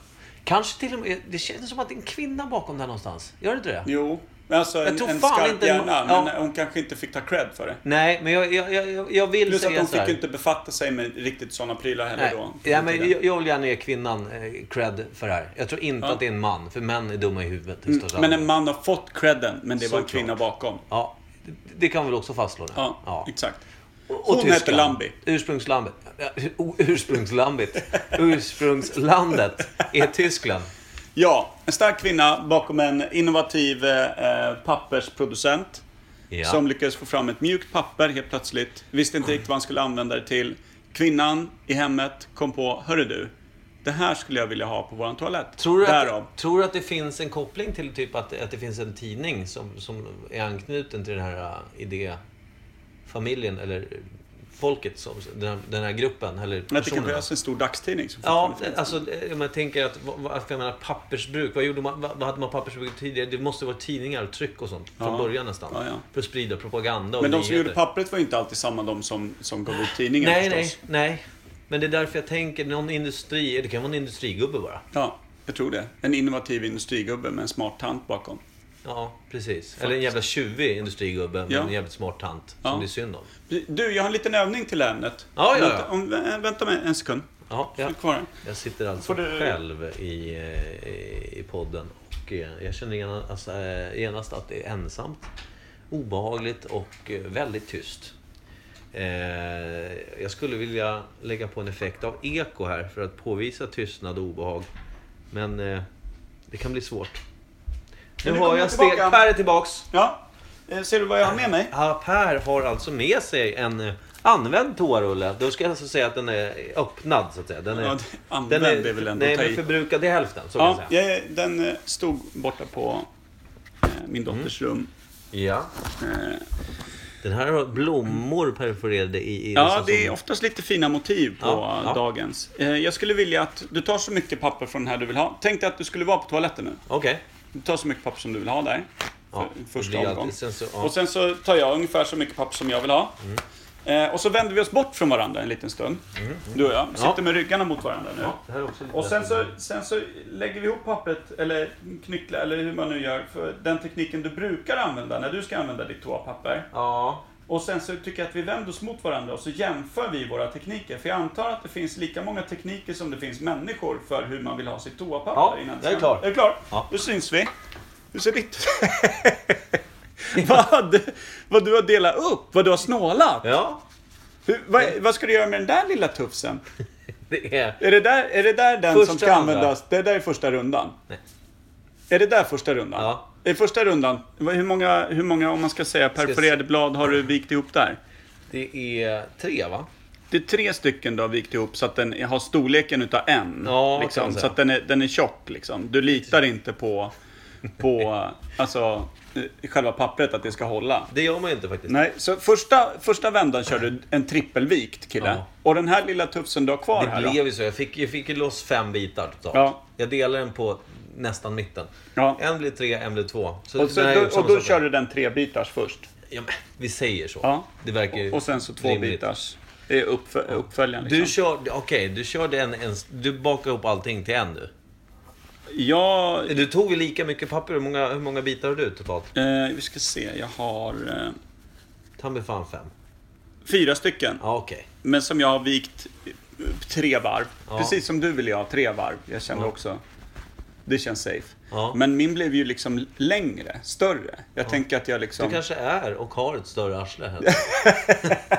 Speaker 1: Kanske till och med... Det känns som att det är en kvinna bakom där någonstans. Gör det inte det?
Speaker 2: Jo, men alltså en,
Speaker 1: tror
Speaker 2: en
Speaker 1: fan
Speaker 2: skarp
Speaker 1: inte-
Speaker 2: hjärna,
Speaker 1: ja.
Speaker 2: men hon kanske inte fick ta cred för det.
Speaker 1: Nej, men jag, jag, jag- jag, jag vill
Speaker 2: Plus att
Speaker 1: säga
Speaker 2: de
Speaker 1: så här.
Speaker 2: fick ju inte befatta sig med riktigt sådana prylar heller
Speaker 1: Nej,
Speaker 2: då.
Speaker 1: ja, men jag, jag vill gärna ge kvinnan eh, cred för det här. Jag tror inte
Speaker 2: Ja. Mm.
Speaker 1: att det är en man, för män är dumma i huvudet i största
Speaker 2: Men
Speaker 1: allmänhet.
Speaker 2: en man har fått credden, men det var en
Speaker 1: Såklart.
Speaker 2: kvinna bakom.
Speaker 1: Ja, det, det kan vi väl också fastslå nu.
Speaker 2: Ja, exakt.
Speaker 1: Och
Speaker 2: Hon
Speaker 1: Tyskland.
Speaker 2: heter Lambi.
Speaker 1: Ursprungslambet. Ja, ur- Ursprungslambet. Ursprungslandet är
Speaker 2: <laughs>
Speaker 1: Tyskland.
Speaker 2: Ja, en stark kvinna bakom en innovativ eh, pappersproducent.
Speaker 1: Ja.
Speaker 2: Som lyckades få fram ett mjukt papper helt plötsligt. Visste inte riktigt vad han skulle använda det till. Kvinnan i hemmet kom på, hörru du. Det här skulle jag vilja ha på våran toalett.
Speaker 1: Tror du,
Speaker 2: Därav.
Speaker 1: att, tror du att det finns en koppling till typ att, att det finns en tidning som, som är anknuten till den här uh, äh, idéfamiljen eller folket, som, den, här, den här gruppen, eller
Speaker 2: Men att det kan
Speaker 1: personerna.
Speaker 2: behövas en stor dagstidning. Som
Speaker 1: Ja,
Speaker 2: fortfarande finns.
Speaker 1: alltså eh, om jag tänker att, vad- vad- jag menar pappersbruk, vad gjorde man, vad vad hade man pappersbruk tidigare? Det måste vara tidningar och tryck och sånt från
Speaker 2: Ja.
Speaker 1: början nästan.
Speaker 2: Ja, ja.
Speaker 1: För att sprida propaganda och
Speaker 2: Men de som
Speaker 1: nyheter.
Speaker 2: gjorde pappret var ju inte alltid samma de som, som gav ut tidningar
Speaker 1: Nej, nej,
Speaker 2: förstås.
Speaker 1: nej. Men det är därför jag tänker, någon industri, det kan vara en industrigubbe bara.
Speaker 2: Ja, jag tror det. En innovativ industrigubbe med en smart tant bakom.
Speaker 1: Ja, precis. Eller en jävla tjuvig industrigubbe med
Speaker 2: Ja.
Speaker 1: en jävligt smart tant som
Speaker 2: Ja.
Speaker 1: det är synd om.
Speaker 2: Du, jag har en liten övning till ämnet.
Speaker 1: Ja, ja, ja.
Speaker 2: Vänta, om, vä- eh, vänta med en sekund.
Speaker 1: Ja, ja.
Speaker 2: Ja. Kvar här.
Speaker 1: Jag sitter alltså
Speaker 2: Får du-
Speaker 1: själv i, eh, i podden och eh, jag känner genast, alltså, eh, genast att det är ensamt, obehagligt och eh, väldigt tyst. Eh, Jag skulle vilja lägga på en effekt av eko här för att påvisa tystnad och obehag. Men eh, det kan bli svårt. Nu
Speaker 2: Men nu
Speaker 1: har
Speaker 2: kommer
Speaker 1: jag
Speaker 2: jag tillbaka.
Speaker 1: steg... Per är tillbaks!
Speaker 2: Ja, Eh, ser du vad jag har med mig?
Speaker 1: Ja, per har alltså med sig en eh, använd toarulle. Då ska jag alltså säga att den är öppnad så att säga. Den är,
Speaker 2: Ja, det- använd är väl ändå
Speaker 1: Nej,
Speaker 2: att ta
Speaker 1: men
Speaker 2: i.
Speaker 1: förbrukad i hälften. Så
Speaker 2: Ja,
Speaker 1: kan jag säga.
Speaker 2: jag, den eh, stod borta på eh,
Speaker 1: Mm.
Speaker 2: min dotters rum.
Speaker 1: Ja.
Speaker 2: Eh,
Speaker 1: Den här har blommor perforerade i i-
Speaker 2: Ja,
Speaker 1: som-
Speaker 2: det är oftast lite fina motiv på
Speaker 1: Ja, ja.
Speaker 2: dagens. Eh, Jag skulle vilja att du tar så mycket papper från den här du vill ha. Tänk dig att du skulle vara på toaletten nu.
Speaker 1: Okej.
Speaker 2: Du tar så mycket papper som du vill ha där.
Speaker 1: Ja,
Speaker 2: För-
Speaker 1: det
Speaker 2: Första
Speaker 1: blir
Speaker 2: omgång.
Speaker 1: alltid- sen så- ja.
Speaker 2: Och sen så tar jag ungefär så mycket papper som jag vill ha. Eh, Och så vänder vi oss bort från varandra en liten stund. Du och jag. Vi sitter
Speaker 1: Ja.
Speaker 2: med ryggarna mot varandra nu.
Speaker 1: Det här är också lite
Speaker 2: Och sen så,
Speaker 1: läskigt.
Speaker 2: sen så lägger vi ihop pappret, eller knycklar, eller hur man nu gör, för den tekniken du brukar använda när du ska använda ditt toapapper.
Speaker 1: Ja.
Speaker 2: Och sen så tycker jag att vi vänder oss mot varandra och så jämför vi våra tekniker. För jag antar att det finns lika många tekniker som det finns människor för hur man vill ha sitt toapapper.
Speaker 1: Ja,
Speaker 2: innan det
Speaker 1: jag är
Speaker 2: ska-
Speaker 1: klar.
Speaker 2: Är du klar?
Speaker 1: Ja.
Speaker 2: Då syns vi. Hur
Speaker 1: <laughs>
Speaker 2: ser ditt vad, du- vad du har delat upp, vad du har snålat.
Speaker 1: Ja.
Speaker 2: Hur, vad, vad ska du göra med den där lilla tufsen?
Speaker 1: Det är...
Speaker 2: Är det där, är det där den som
Speaker 1: Första
Speaker 2: ska
Speaker 1: andra.
Speaker 2: användas? Det där är första rundan.
Speaker 1: Nej.
Speaker 2: Är det där första rundan?
Speaker 1: Ja.
Speaker 2: Är första rundan, vad- hur många, hur många, om man ska säga, perforerade blad har du vikt ihop där?
Speaker 1: Det är tre, va?
Speaker 2: Det är tre stycken du har vikt ihop så att den har storleken utav en.
Speaker 1: Ja, kan man
Speaker 2: liksom,
Speaker 1: säga.
Speaker 2: så att den är, den är tjock liksom. Du litar inte på,
Speaker 1: <laughs>
Speaker 2: på alltså, eh, själva pappret att det ska hålla.
Speaker 1: Det gör man ju inte faktiskt.
Speaker 2: Nej, så första, första vändan kör du en trippelvikt kille.
Speaker 1: Ja.
Speaker 2: Och den här lilla tufsen du har kvar här
Speaker 1: Det
Speaker 2: då?
Speaker 1: blev ju så. Jag fick, jag fick ju loss fem bitar totalt.
Speaker 2: Ja.
Speaker 1: Jag delar den på nästan mitten.
Speaker 2: Ja.
Speaker 1: En blir tre, en blir två. Så
Speaker 2: Och, så,
Speaker 1: den här är ju
Speaker 2: då,
Speaker 1: samma
Speaker 2: och då
Speaker 1: sak.
Speaker 2: kör du den trebitars först.
Speaker 1: Ja, men, vi säger så.
Speaker 2: Ja.
Speaker 1: Det verkar ju
Speaker 2: Och sen så två
Speaker 1: rimligt.
Speaker 2: bitars. Det är uppfö uppföljaren
Speaker 1: Du
Speaker 2: liksom.
Speaker 1: körde, okej, du körde en, en, du bakade ihop allting till en du.
Speaker 2: Jag,
Speaker 1: Du tog ju lika mycket papper, hur många, hur många bitar har du totalt?
Speaker 2: eh, vi ska se, jag har eh,
Speaker 1: Ta mig fan fem.
Speaker 2: fyra stycken.
Speaker 1: Ja, okej.
Speaker 2: Men som jag har vikt eh, tre varv.
Speaker 1: Ja.
Speaker 2: Precis som du ville jag ha tre varv. Jag kände också. Det känns safe.
Speaker 1: Ja.
Speaker 2: Men min blev ju liksom längre, större. Jag tänker att jag liksom...
Speaker 1: Du kanske är och har ett större arsle
Speaker 2: <laughs>
Speaker 1: här.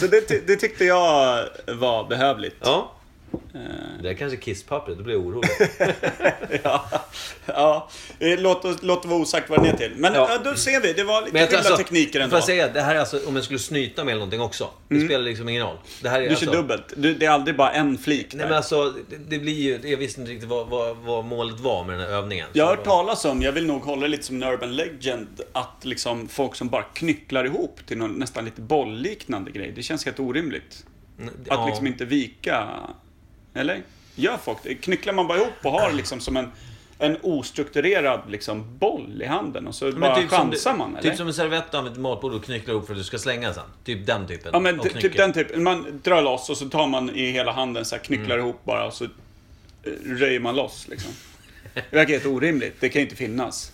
Speaker 2: Så det, ty- det tyckte jag var behövligt.
Speaker 1: Ja.
Speaker 2: Eh,
Speaker 1: Det är kanske kisspappret, då blir jag
Speaker 2: <laughs>
Speaker 1: orolig.
Speaker 2: Ja. ja. Eh, Låt, oss- låt det vara osagt vad den är till. Men
Speaker 1: Ja.
Speaker 2: ja. då ser vi, det var lite
Speaker 1: Men jag
Speaker 2: skilda
Speaker 1: tror alltså,
Speaker 2: tekniker ändå. Mm.
Speaker 1: Får jag säga, det här är alltså om jag skulle snyta med eller någonting också. Det spelar liksom ingen roll. Det här är
Speaker 2: Du
Speaker 1: alltså,
Speaker 2: kör dubbelt. Du, det är aldrig bara en flik.
Speaker 1: Nej
Speaker 2: där.
Speaker 1: men alltså, det, det blir ju, jag visste inte riktigt vad, vad, vad målet var med den här övningen.
Speaker 2: Jag har
Speaker 1: Så-
Speaker 2: hört talas om, jag vill nog hålla det lite som en urban legend, att liksom folk som bara knycklar ihop till någon nästan lite bollliknande grej. Det känns helt orimligt.
Speaker 1: Mm,
Speaker 2: Att liksom inte vika... Eller? Gör folk det? Knycklar man bara ihop och har liksom som en, en ostrukturerad liksom boll i handen och så bara
Speaker 1: som
Speaker 2: chansar
Speaker 1: du-
Speaker 2: man? Eller?
Speaker 1: Typ som en servett du använder till matbord och knycklar ihop för att du ska slänga sen. Typ den typen.
Speaker 2: Ja men
Speaker 1: av
Speaker 2: ty- typ
Speaker 1: knyckel.
Speaker 2: den typen. Man drar loss och så tar man i hela handen så här, knycklar
Speaker 1: Mm.
Speaker 2: ihop bara och så eh, röjer man loss liksom. Det verkar helt orimligt. Det kan ju inte finnas.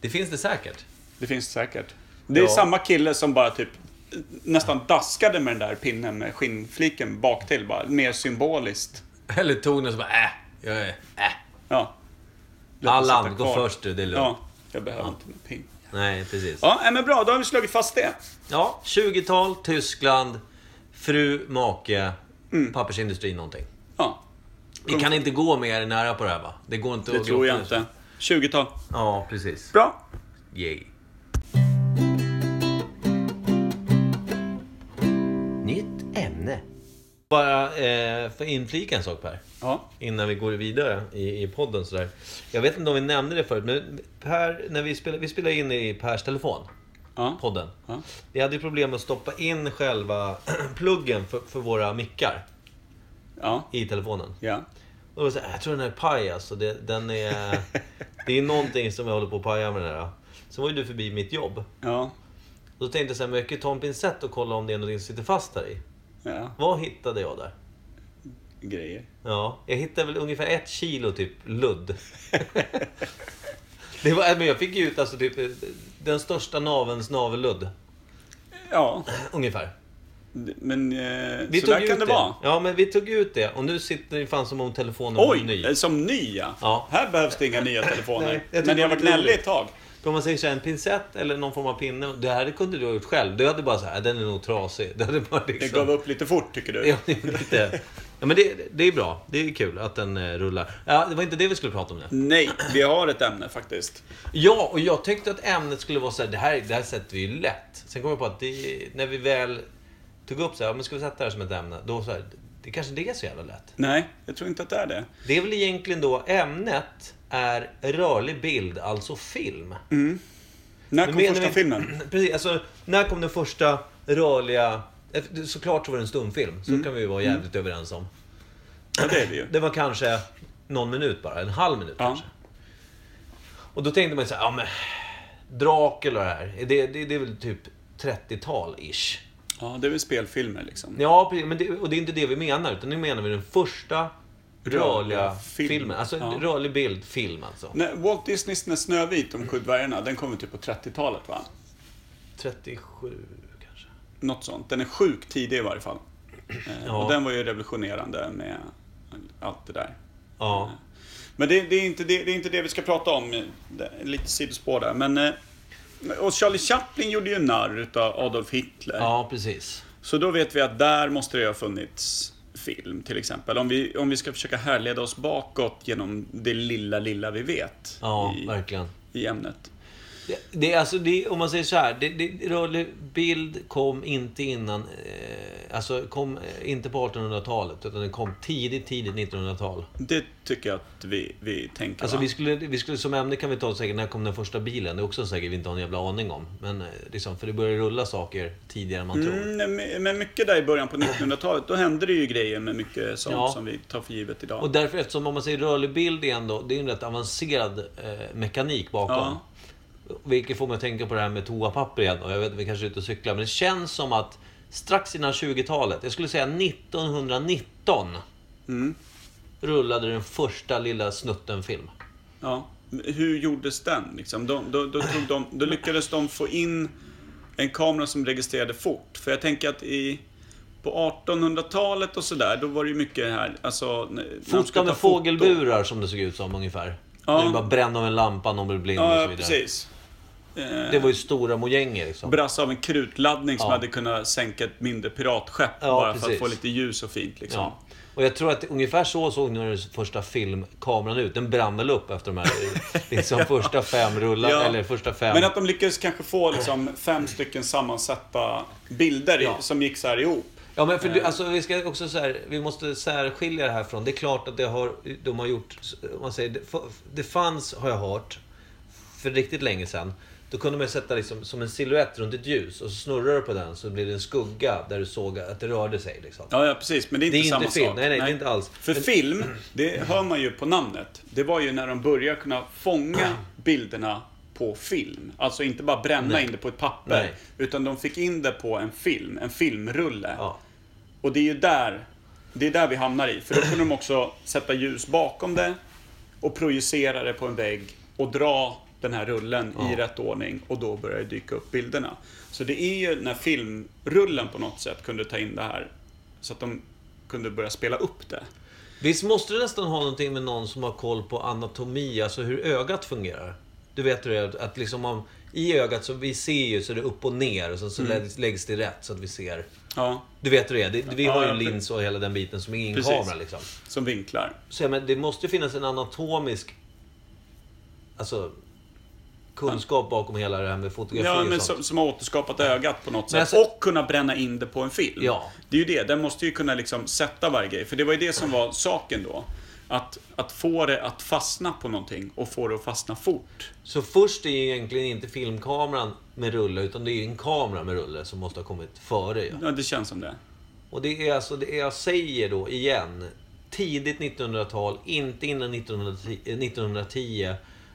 Speaker 1: Det finns det säkert. <laughs>
Speaker 2: Det finns det säkert. Det är
Speaker 1: Ja.
Speaker 2: samma kille som bara typ eh, nästan daskade med den där pinnen med skinnfliken bak till bara. Mer symboliskt.
Speaker 1: Eller tog den och så bara äh, jag är äh.
Speaker 2: Ja. Låt den sitta
Speaker 1: Allan, gå
Speaker 2: kvar.
Speaker 1: först du, det är lugnt.
Speaker 2: Ja, jag behöver inte någon pin.
Speaker 1: Nej, precis. Ja,
Speaker 2: Ja, nej, men bra. Då har vi slagit fast det.
Speaker 1: 20-tal, Tyskland, fru, make,
Speaker 2: Mm.
Speaker 1: pappersindustri, någonting.
Speaker 2: Ja,
Speaker 1: Vi kan inte gå mer nära på det här va? Det går inte
Speaker 2: det
Speaker 1: att
Speaker 2: tror jag
Speaker 1: grotta i.
Speaker 2: inte. 20-tal.
Speaker 1: Ja, precis.
Speaker 2: Bra.
Speaker 1: Yay. Nytt ämne. Bara eh, för inflika en sak Per.
Speaker 2: Ja.
Speaker 1: Innan vi går vidare i, i podden sådär. Jag vet inte om vi nämnde det förut, men per, när vi, spelade, vi spelade in i Pers telefon.
Speaker 2: Ja.
Speaker 1: podden.
Speaker 2: Ja.
Speaker 1: Vi hade ju problem med att stoppa in själva <clears throat> pluggen för, för våra mickar
Speaker 2: Ja.
Speaker 1: i telefonen.
Speaker 2: Ja.
Speaker 1: Och då var det så här, jag tror den här är paj alltså. Det, den är, det är någonting som jag håller på att paja med den här. Sen var ju du förbi mitt jobb.
Speaker 2: Ja.
Speaker 1: Då tänkte jag så här, men jag kan ju ta en pincett och kolla om det är någonting som sitter fast här i.
Speaker 2: Ja.
Speaker 1: Vad hittade jag där?
Speaker 2: Grejer.
Speaker 1: Ja, jag hittade väl ungefär ett kilo typ
Speaker 2: <laughs>
Speaker 1: ludd. det var, men jag fick ju ut alltså typ eh, den största navelns navelludd. <clears throat>
Speaker 2: Ja.
Speaker 1: Ungefär.
Speaker 2: D- Men eh,
Speaker 1: Vi
Speaker 2: så
Speaker 1: tog
Speaker 2: där
Speaker 1: ju
Speaker 2: kan
Speaker 1: ut
Speaker 2: det vara.
Speaker 1: Ja, men vi tog ut det. Och nu sitter det fan som om telefonen var
Speaker 2: Oj!
Speaker 1: ny.
Speaker 2: eh, Som nya?
Speaker 1: Ja.
Speaker 2: Här behövs det inga nya telefoner.
Speaker 1: Nej, jag tycker
Speaker 2: men
Speaker 1: det
Speaker 2: jag
Speaker 1: var
Speaker 2: har varit
Speaker 1: lite
Speaker 2: gnällig ett tag.
Speaker 1: För om man säger så här, en pincett eller någon form av pinne. Det här kunde du ha gjort själv. Du hade bara så här, "Äh, den är nog trasig. Det hade bara liksom...
Speaker 2: Det gav upp lite fort, tycker du?
Speaker 1: Ja, det är lite... Ja, men det, det är bra. Det är kul att den eh, rullar. Ja, det var inte det vi skulle prata om nu.
Speaker 2: Nej, vi har ett ämne faktiskt.
Speaker 1: Ja, och jag tyckte att ämnet skulle vara så här, det här, det här sätter vi ju lätt. Sen kom jag på att det, när vi väl tog upp så här, "Ja, men ska vi sätta det här som ett ämne? Då så här, det kanske inte är så jävla lätt.
Speaker 2: Nej, jag tror inte att det är det.
Speaker 1: Det är väl egentligen då ämnet är rörlig bild, alltså film.
Speaker 2: Mm.
Speaker 1: Men
Speaker 2: När kom
Speaker 1: menar
Speaker 2: första
Speaker 1: vi-
Speaker 2: filmen?
Speaker 1: <clears throat> Precis, alltså när kom den första rörliga... Eh, Såklart så var det en stumfilm,
Speaker 2: Mm.
Speaker 1: så kan vi ju vara jävligt överens om.
Speaker 2: Ja, det är
Speaker 1: <clears throat>
Speaker 2: vi ju.
Speaker 1: Det var kanske någon minut bara, en halv minut
Speaker 2: Ja.
Speaker 1: kanske. Och då tänkte man ju så här, ja men... Dracula och det här, det, det, det är väl typ 30-tal-ish.
Speaker 2: Ja, det är väl spelfilmer liksom.
Speaker 1: Ja, precis, men det, och det är inte det vi menar, utan nu menar vi den första rörliga
Speaker 2: Rörliga film.
Speaker 1: filmen. Alltså
Speaker 2: Ja.
Speaker 1: rörlig bild, film alltså.
Speaker 2: Nej, Walt Disneys När Snövit om Kuddvärgarna, den kom ju typ på 30-talet va?
Speaker 1: 37 kanske.
Speaker 2: Något sånt. Den är sjukt tidig i varje fall. Eh,
Speaker 1: Ja.
Speaker 2: Och den var ju revolutionerande med allt det där.
Speaker 1: Ja.
Speaker 2: Men det, det, är inte det, det är inte det vi ska prata om. Det är Lite sidospår där. Men, eh, och Charlie Chaplin gjorde ju narr utav Adolf Hitler.
Speaker 1: ja, precis.
Speaker 2: Så då vet vi att där måste det ju ha funnits film till exempel. Om vi, om vi ska försöka härleda oss bakåt genom det lilla, lilla vi vet
Speaker 1: Ja,
Speaker 2: i,
Speaker 1: verkligen.
Speaker 2: i ämnet.
Speaker 1: Det, det är alltså, det, om man säger så här. Det, det, rörlig bild kom inte innan... Eh, alltså, kom eh, inte på 1800-talet, utan den kom tidigt, tidigt 1900-tal.
Speaker 2: Det tycker jag att vi, vi tänker.
Speaker 1: Alltså,
Speaker 2: va?
Speaker 1: vi skulle, vi skulle, som ämne kan vi ta säkert, när kom den första bilen? Det är också säkert vi inte har en jävla aning om. Men, eh, liksom, för det börjar rulla saker tidigare än man tror.
Speaker 2: Mm, men- men mycket där i
Speaker 1: <clears throat>
Speaker 2: början på 1900-talet, då hände det ju grejer med mycket sånt
Speaker 1: Ja.
Speaker 2: som vi tar för givet idag.
Speaker 1: Och därför, eftersom om man säger rörlig bild är ändå, det är en rätt avancerad eh, mekanik bakom.
Speaker 2: Ja.
Speaker 1: Vilket får mig att tänka på det här med toapapper igen. Och jag vet, vi kanske är ute och cyklar, men det känns som att strax innan 20-talet, jag skulle säga 1919,
Speaker 2: Mm.
Speaker 1: rullade den första lilla snutten film.
Speaker 2: Ja. Hur gjordes den? Liksom? De, då, då, tog de, då lyckades de få in en kamera som registrerade fort. För jag tänker att i, på 1800-talet och sådär, då var det ju mycket här, alltså... när- när man skulle
Speaker 1: Fota
Speaker 2: ta
Speaker 1: med
Speaker 2: foto.
Speaker 1: fågelburar som det såg ut som ungefär.
Speaker 2: Ja.
Speaker 1: Ja. Det bara bränna av en lampa, någon blev blind och
Speaker 2: Ja,
Speaker 1: så
Speaker 2: ja,
Speaker 1: vidare.
Speaker 2: precis. Eh,
Speaker 1: Det var ju stora mojänger liksom.
Speaker 2: Brass av en krutladdning som
Speaker 1: Ja.
Speaker 2: hade kunnat sänka ett mindre piratskepp
Speaker 1: Ja,
Speaker 2: bara för att
Speaker 1: precis.
Speaker 2: få lite ljus och fint liksom.
Speaker 1: Ja. Och jag tror att ungefär så såg nu den första filmkameran ut. Den brann väl upp efter de här <laughs> liksom, första fem rullarna,
Speaker 2: Ja.
Speaker 1: eller första fem...
Speaker 2: Men att de lyckades kanske få liksom fem stycken sammansatta bilder i-
Speaker 1: Ja.
Speaker 2: som gick så här ihop.
Speaker 1: Ja, men för du,
Speaker 2: Eh.
Speaker 1: alltså, vi ska också så här, vi måste särskilja det här från. Det är klart att det har, de har gjort, om man säger, det, det fanns, har jag hört, för riktigt länge sedan. Då kunde man ju sätta liksom, som en silhuett runt ett ljus och så snurrar du på den så blir det en skugga där du såg att det rörde sig. Liksom.
Speaker 2: Ja, ja precis. Men det är inte
Speaker 1: Det är
Speaker 2: samma
Speaker 1: inte film.
Speaker 2: sak.
Speaker 1: Nej, nej, det är inte alls.
Speaker 2: För film, det hör man ju på namnet. Det var ju när de började kunna fånga bilderna på film. Alltså inte bara bränna in det på ett papper.
Speaker 1: Nej.
Speaker 2: Utan de fick in det på en film, en filmrulle.
Speaker 1: Ja.
Speaker 2: Och det är ju där, det är där vi hamnar i. För då kunde de också sätta ljus bakom det och projicera det på en vägg och dra den här rullen i rätt ordning och då börjar det dyka upp bilderna. Så det är ju när filmrullen på något sätt kunde ta in det här så att de kunde börja spela upp det.
Speaker 1: Visst måste du nästan ha någonting med någon som har koll på anatomi, alltså hur ögat fungerar? Du vet hur det är, att liksom om, i ögat så vi ser ju så är det upp och ner och sen så
Speaker 2: Mm.
Speaker 1: läggs, läggs det rätt så att vi ser.
Speaker 2: Ja,
Speaker 1: Du vet hur det är, det, vi
Speaker 2: Ja,
Speaker 1: har ju
Speaker 2: ja,
Speaker 1: en
Speaker 2: pre-
Speaker 1: lins och hela den biten som är en
Speaker 2: Precis.
Speaker 1: kamera liksom.
Speaker 2: som vinklar.
Speaker 1: Så jag menar, det måste ju finnas en anatomisk, alltså kunskap bakom hela det här med fotografi
Speaker 2: Ja, men
Speaker 1: och sånt.
Speaker 2: som, som har återskapat ögat på något sätt.
Speaker 1: Men alltså-
Speaker 2: och kunna bränna in det på en film.
Speaker 1: Ja.
Speaker 2: Det är ju det, den måste ju kunna liksom sätta varje grej. För det var ju det som var saken då. Att, att få det att fastna på någonting och få det att fastna fort.
Speaker 1: Så först är ju egentligen inte filmkameran med rulle, utan det är en kamera med rulle som måste ha kommit före. Ja.
Speaker 2: Ja, det känns som det.
Speaker 1: Och det är alltså, det jag säger då igen, tidigt 1900-tal, inte innan 1910, eh, 1910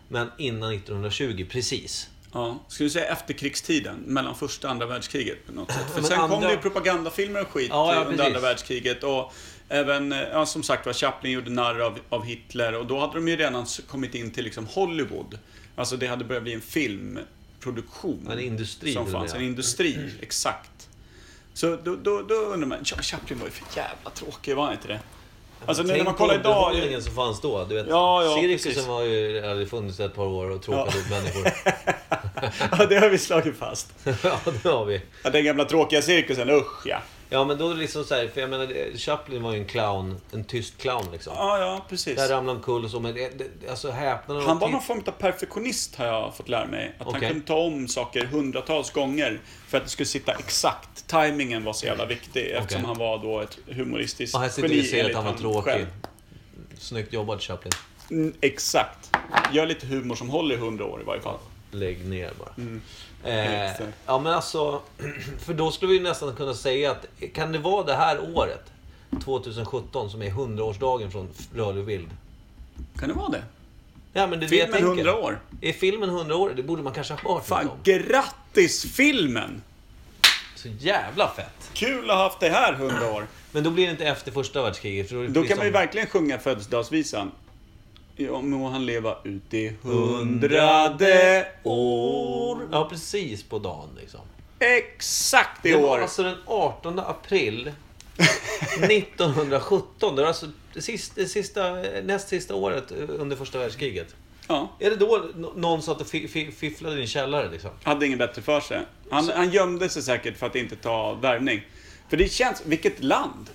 Speaker 1: men innan 1920 precis.
Speaker 2: Ja, skulle du säga efterkrigstiden, mellan första och andra världskriget på något sätt?
Speaker 1: <laughs>
Speaker 2: För
Speaker 1: Men
Speaker 2: sen kom
Speaker 1: andra-
Speaker 2: det ju propagandafilmer och skit
Speaker 1: Ja, ja,
Speaker 2: under
Speaker 1: precis.
Speaker 2: andra världskriget. Och även, eh, ja, som sagt var, Chaplin gjorde narr av, av Hitler och då hade de ju redan s- kommit in till liksom Hollywood. Alltså det hade börjat bli en filmproduktion.
Speaker 1: En industri,
Speaker 2: Som
Speaker 1: menar
Speaker 2: fanns,
Speaker 1: jag. Mm.
Speaker 2: en industri, exakt. Så då, då, då undrar man, Cha- Chaplin var ju för jävla tråkig, var han inte det? Alltså när
Speaker 1: Tänk
Speaker 2: man kollar
Speaker 1: på
Speaker 2: idag...
Speaker 1: underhållningen som fanns då. Du vet,
Speaker 2: Ja, ja,
Speaker 1: cirkusen
Speaker 2: precis.
Speaker 1: var ju, hade funnits ett par år och tråkat ut människor.
Speaker 2: <laughs>
Speaker 1: <laughs>
Speaker 2: Ja, det har vi slagit fast.
Speaker 1: ja, det har vi.
Speaker 2: Ja, den gamla tråkiga cirkusen, usch ja.
Speaker 1: Ja, men då är det liksom så här, för jag menar, det- Chaplin var ju en clown, en tyst clown liksom.
Speaker 2: Ja, ja, precis.
Speaker 1: Där ramlade omkull och så, men det, det, alltså häpnaden
Speaker 2: Han var
Speaker 1: titt-
Speaker 2: någon form av perfektionist har jag fått lära mig. Att
Speaker 1: Okej.
Speaker 2: han kunde ta om saker hundratals gånger för att det skulle sitta exakt. Timingen var så jävla viktig eftersom
Speaker 1: Okej.
Speaker 2: han var då ett humoristiskt
Speaker 1: Och här sitter vi och ser att
Speaker 2: enligt
Speaker 1: han var tråkig.
Speaker 2: själv.
Speaker 1: Snyggt jobbat Chaplin.
Speaker 2: Mm, exakt. Gör lite humor som håller i hundra år i varje fall.
Speaker 1: Lägg ner bara. Eh,
Speaker 2: Exakt.
Speaker 1: ja men alltså, <clears throat> för då skulle vi ju nästan kunna säga att kan det vara det här året, 2017, som är 100-årsdagen från Rörlig bild?
Speaker 2: Kan det vara det?
Speaker 1: Ja, men det är det jag
Speaker 2: Filmen
Speaker 1: tänker.
Speaker 2: 100 år.
Speaker 1: Är filmen 100 år? Det borde man kanske ha hört något
Speaker 2: Fan,
Speaker 1: om.
Speaker 2: grattis filmen!
Speaker 1: Så jävla fett!
Speaker 2: Kul att ha haft det här hundra år.
Speaker 1: Men då blir det inte efter första världskriget. För då är det liksom-
Speaker 2: Då
Speaker 1: precis
Speaker 2: kan man ju
Speaker 1: som-
Speaker 2: verkligen sjunga födelsedagsvisan. Ja, må han leva ut i hundrade år.
Speaker 1: Ja, precis på dagen liksom.
Speaker 2: Exakt i
Speaker 1: Det var
Speaker 2: år!
Speaker 1: alltså den 18
Speaker 2: <laughs>
Speaker 1: april 1917. Det var alltså det sista, det sista, näst sista året under första världskriget.
Speaker 2: Ja,
Speaker 1: Är det då nå- någon satt och fi- fi- fifflade i din källare liksom?
Speaker 2: hade inget bättre för sig. Han, han gömde sig säkert för att inte ta värvning. För det känns... Vilket land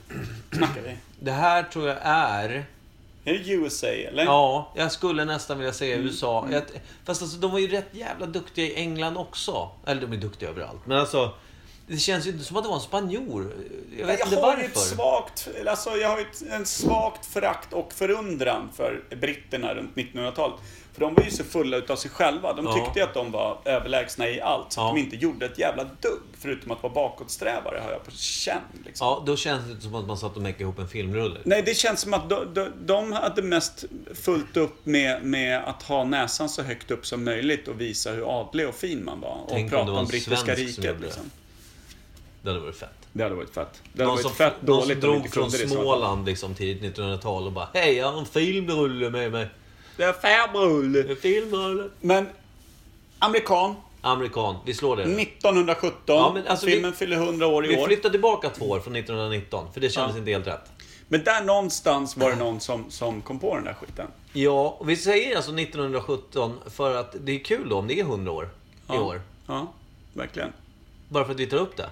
Speaker 2: snackar vi?
Speaker 1: Det här tror jag är...
Speaker 2: Är det USA eller?
Speaker 1: Ja, Mm. jag skulle nästan vilja säga USA. Jag, fast alltså, de var ju rätt jävla duktiga i England också. Eller de är duktiga överallt. Men alltså, det känns ju inte som att det var en spanjor. Jag vet
Speaker 2: Jag
Speaker 1: inte
Speaker 2: har ju ett
Speaker 1: varför.
Speaker 2: svagt, alltså jag har ju ett, en svagt förakt och förundran för britterna runt 1900-talet. För de var ju så fulla utav sig själva. De
Speaker 1: Ja.
Speaker 2: tyckte ju att de var överlägsna i allt. Så att
Speaker 1: Ja.
Speaker 2: de inte gjorde ett jävla dugg. Förutom att vara bakåtsträvare har jag på känn. Liksom.
Speaker 1: Ja, då känns det inte som att man satt och meckade ihop en filmrulle.
Speaker 2: Nej, det känns som att de, de, de hade mest fullt upp med, med att ha näsan så högt upp som möjligt och visa hur adlig och fin man var. Och
Speaker 1: Tänk om
Speaker 2: prata
Speaker 1: det
Speaker 2: om,
Speaker 1: var en
Speaker 2: brittiska
Speaker 1: svensk som
Speaker 2: riket.
Speaker 1: gjorde det.
Speaker 2: Liksom.
Speaker 1: Det hade varit fett.
Speaker 2: Det hade varit fett. Det
Speaker 1: Någon
Speaker 2: hade
Speaker 1: som,
Speaker 2: varit fett
Speaker 1: någon som
Speaker 2: dåligt om vi inte
Speaker 1: drog från
Speaker 2: kunde det. i så fall.
Speaker 1: Småland liksom tidigt 1900-tal och bara Hej, jag har en filmrulle med mig.
Speaker 2: Det är farbror!
Speaker 1: En filmrulle.
Speaker 2: Men, amerikan,
Speaker 1: Amerikan, vi slår det.
Speaker 2: 1917.
Speaker 1: Ja, men alltså vi-
Speaker 2: filmen fyller 100 år i
Speaker 1: Vi
Speaker 2: år.
Speaker 1: flyttar tillbaka två år från 1919, för det kändes
Speaker 2: Ja.
Speaker 1: inte helt rätt.
Speaker 2: Men där någonstans var det någon som, som kom på den där skiten.
Speaker 1: Ja, och vi säger alltså 1917 för att det är kul då om det är 100 år i
Speaker 2: Ja.
Speaker 1: år.
Speaker 2: Ja, verkligen.
Speaker 1: Bara för att vi tar upp det.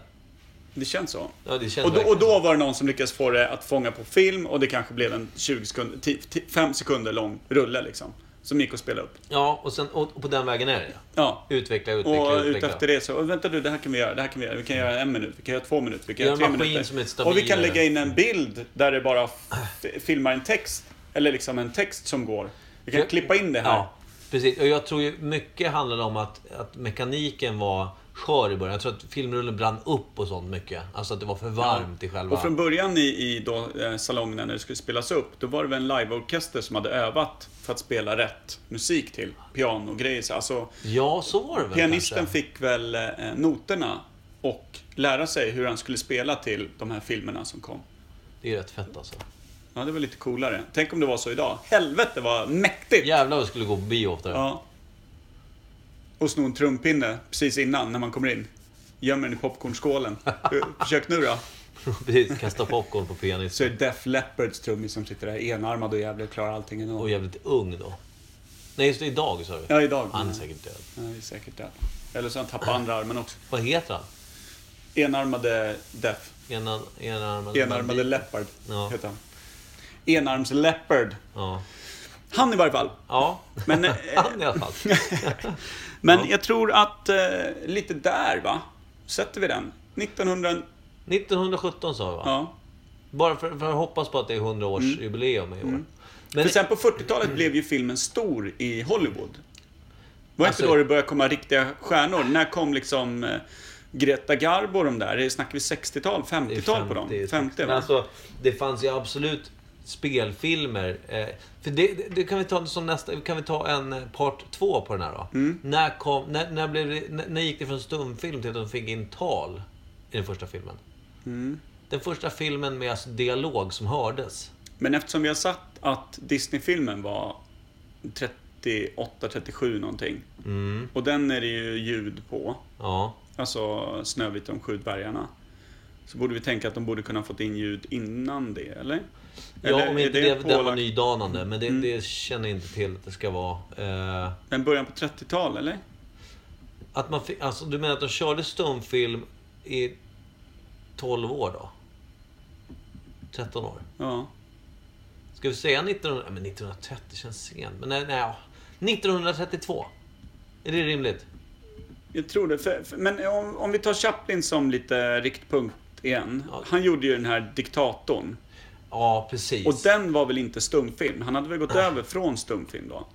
Speaker 2: Det känns så.
Speaker 1: Ja, det känns
Speaker 2: Och då, och
Speaker 1: verkligen så.
Speaker 2: då var det någon som lyckades få det att fånga på film och det kanske blev en 20 sekunder, 10, 10, 5 sekunder lång rulle liksom. Som gick att spela upp.
Speaker 1: Ja, och, sen, och och på den vägen är det.
Speaker 2: Ja.
Speaker 1: Utveckla, utveckla,
Speaker 2: Och
Speaker 1: utveckla.
Speaker 2: utefter det så, "Åh, vänta du, det här kan vi göra, det här kan vi göra. Vi kan göra en minut, vi kan göra två minuter, vi kan
Speaker 1: Gör
Speaker 2: göra tre
Speaker 1: en maskin
Speaker 2: minuter.
Speaker 1: som är stabil
Speaker 2: och vi kan
Speaker 1: eller- Ah.
Speaker 2: lägga in en bild där det bara f- filmar en text. Eller liksom en text som går. Vi kan
Speaker 1: Jag-
Speaker 2: klippa in det här.
Speaker 1: Ja, precis. Och jag tror ju mycket handlade om att, att mekaniken var skör i början. Jag tror att filmrullen brann upp och sånt mycket. Alltså att det var för varmt i själva...
Speaker 2: Och från början i, i då, eh, salongerna när det skulle spelas upp, då var det väl en liveorkester som hade övat för att spela rätt musik till. Pianogrejer, så- alltså
Speaker 1: Ja, så var det väl
Speaker 2: Pianisten
Speaker 1: kanske.
Speaker 2: fick väl eh, noterna och lära sig hur han skulle spela till de här filmerna som kom.
Speaker 1: Det är rätt fett alltså.
Speaker 2: Ja, det var lite coolare. Tänk om det var så idag. Helvete vad mäktigt!
Speaker 1: Jävlar vad jag skulle gå på bio oftare.
Speaker 2: Ja. Och sno en trumpinne precis innan, när man kommer in. Gömmer den
Speaker 1: <laughs>
Speaker 2: i popcornskålen. Eh, Försök nu då.
Speaker 1: <laughs> Precis, kasta popcorn på pianisten.
Speaker 2: Så är det Def Leppards trummis som sitter där enarmad och jävligt klarar allting ändå.
Speaker 1: Och jävligt ung då. Nej, just det, idag sa du.
Speaker 2: Ja, idag.
Speaker 1: Han är säkert död.
Speaker 2: Ja, det är säkert det. Eller så har han tappat andra armen också.
Speaker 1: Vad heter han?
Speaker 2: Enarmade Def.
Speaker 1: Ena, enarmade...
Speaker 2: Enarmade Leopard
Speaker 1: Ja.
Speaker 2: heter han. Enarms Leopard.
Speaker 1: Ja.
Speaker 2: Han i varje fall.
Speaker 1: Ja. <laughs>
Speaker 2: Men, eh, <laughs>
Speaker 1: Han i alla fall.
Speaker 2: men jag tror att eh, lite där va, sätter vi den. 1900,
Speaker 1: 1917 sa vi va?
Speaker 2: ja. Mm.
Speaker 1: Bara för, för att hoppas på att det är 100-årsjubileum i år. Men
Speaker 2: För sen på 40-talet blev ju filmen stor i Hollywood. Var
Speaker 1: Alltså-
Speaker 2: inte då det började komma riktiga stjärnor? När kom liksom eh, Greta Garbo och de där? Det Snackar vi 60-tal?
Speaker 1: Det är
Speaker 2: 50-tal på dem?
Speaker 1: 50,
Speaker 2: 50,
Speaker 1: Men
Speaker 2: va?
Speaker 1: alltså, det fanns ju absolut spelfilmer. Eh, för det, det, det kan vi ta som nästa, kan vi ta en eh, part två på den här då?
Speaker 2: Mm.
Speaker 1: När, kom, när, när, blev det, när, när gick det från stumfilm till att de fick in tal i den första filmen?
Speaker 2: Mm.
Speaker 1: Den första filmen med alltså dialog som hördes.
Speaker 2: Men eftersom vi har satt att Disney-filmen var 38-37 någonting.
Speaker 1: Mm.
Speaker 2: Och den är det ju ljud på.
Speaker 1: Ja.
Speaker 2: Alltså Snövit och de sju dvärgarna. Så borde vi tänka att de borde kunna ha fått in ljud innan det, eller?
Speaker 1: ja, om
Speaker 2: är
Speaker 1: inte det, det var
Speaker 2: pålagt- Mm.
Speaker 1: nydanande. Men det, det känner jag inte till att det ska vara. Eh,
Speaker 2: Men början på 30-tal, eller?
Speaker 1: att man fick, alltså, du menar att de körde stumfilm i 12 år då? 13 år?
Speaker 2: Ja.
Speaker 1: Ska vi säga 1900, men 1930 känns sent. Men nej, nej, ja. 1932. Är det rimligt?
Speaker 2: Jag tror det. För, för, men om, om vi tar Chaplin som lite riktpunkt igen.
Speaker 1: Ja.
Speaker 2: Han gjorde ju den här diktatorn.
Speaker 1: Ja, precis.
Speaker 2: Och den var väl inte stumfilm? Han hade väl gått
Speaker 1: Ah.
Speaker 2: över från stumfilm då?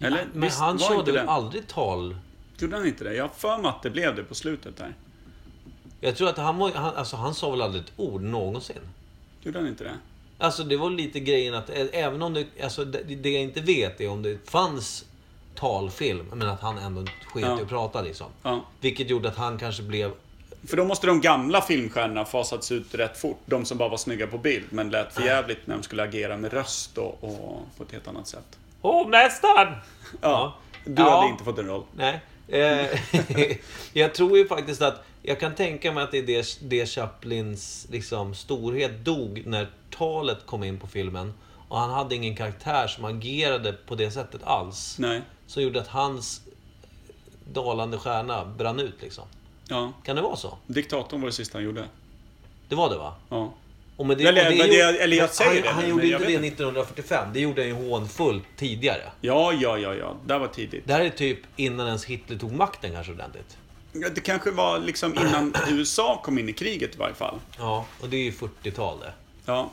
Speaker 2: Eller?
Speaker 1: men
Speaker 2: Visst
Speaker 1: han
Speaker 2: var
Speaker 1: körde
Speaker 2: inte
Speaker 1: väl
Speaker 2: den?
Speaker 1: aldrig tal?
Speaker 2: Gjorde han inte det? Jag har för mig att det blev det på slutet där.
Speaker 1: Jag tror att han, var, han, alltså, han sa väl aldrig ett ord någonsin.
Speaker 2: Gjorde han inte det?
Speaker 1: Alltså det var lite grejen att ä- även om det, alltså det, det jag inte vet är om det fanns talfilm, men att han ändå sket i
Speaker 2: Ja.
Speaker 1: att prata liksom.
Speaker 2: Ja.
Speaker 1: Vilket gjorde att han kanske blev...
Speaker 2: För då måste de gamla filmstjärnorna fasats ut rätt fort. De som bara var snygga på bild men lät
Speaker 1: Ah.
Speaker 2: för jävligt när de skulle agera med röst och, och på ett helt annat sätt.
Speaker 1: Hovmästaren!
Speaker 2: Ja. Du
Speaker 1: Ja.
Speaker 2: hade inte fått en roll.
Speaker 1: Nej. Eh, <laughs> jag tror ju faktiskt att... Jag kan tänka mig att det är det, det Chaplins liksom, storhet dog när talet kom in på filmen. Och han hade ingen karaktär som agerade på det sättet alls.
Speaker 2: Nej.
Speaker 1: Som gjorde att hans dalande stjärna brann ut liksom.
Speaker 2: Ja.
Speaker 1: Kan det vara så?
Speaker 2: Diktatorn var det sista han gjorde.
Speaker 1: Det var det va?
Speaker 2: Ja.
Speaker 1: Och men det,
Speaker 2: Eller-
Speaker 1: och
Speaker 2: men
Speaker 1: gjorde-
Speaker 2: det- eller jag
Speaker 1: men
Speaker 2: säger
Speaker 1: han,
Speaker 2: det,
Speaker 1: Han
Speaker 2: men
Speaker 1: gjorde
Speaker 2: jag
Speaker 1: inte det
Speaker 2: vet
Speaker 1: 1945. Det gjorde han ju hånfullt tidigare.
Speaker 2: Ja, ja, ja, ja. Det här var tidigt.
Speaker 1: Det här är typ innan ens Hitler tog makten kanske ordentligt.
Speaker 2: Ja, Det kanske var liksom
Speaker 1: <clears throat>
Speaker 2: innan USA kom in i kriget i varje fall.
Speaker 1: Ja, och det är ju 40-tal det.
Speaker 2: Ja.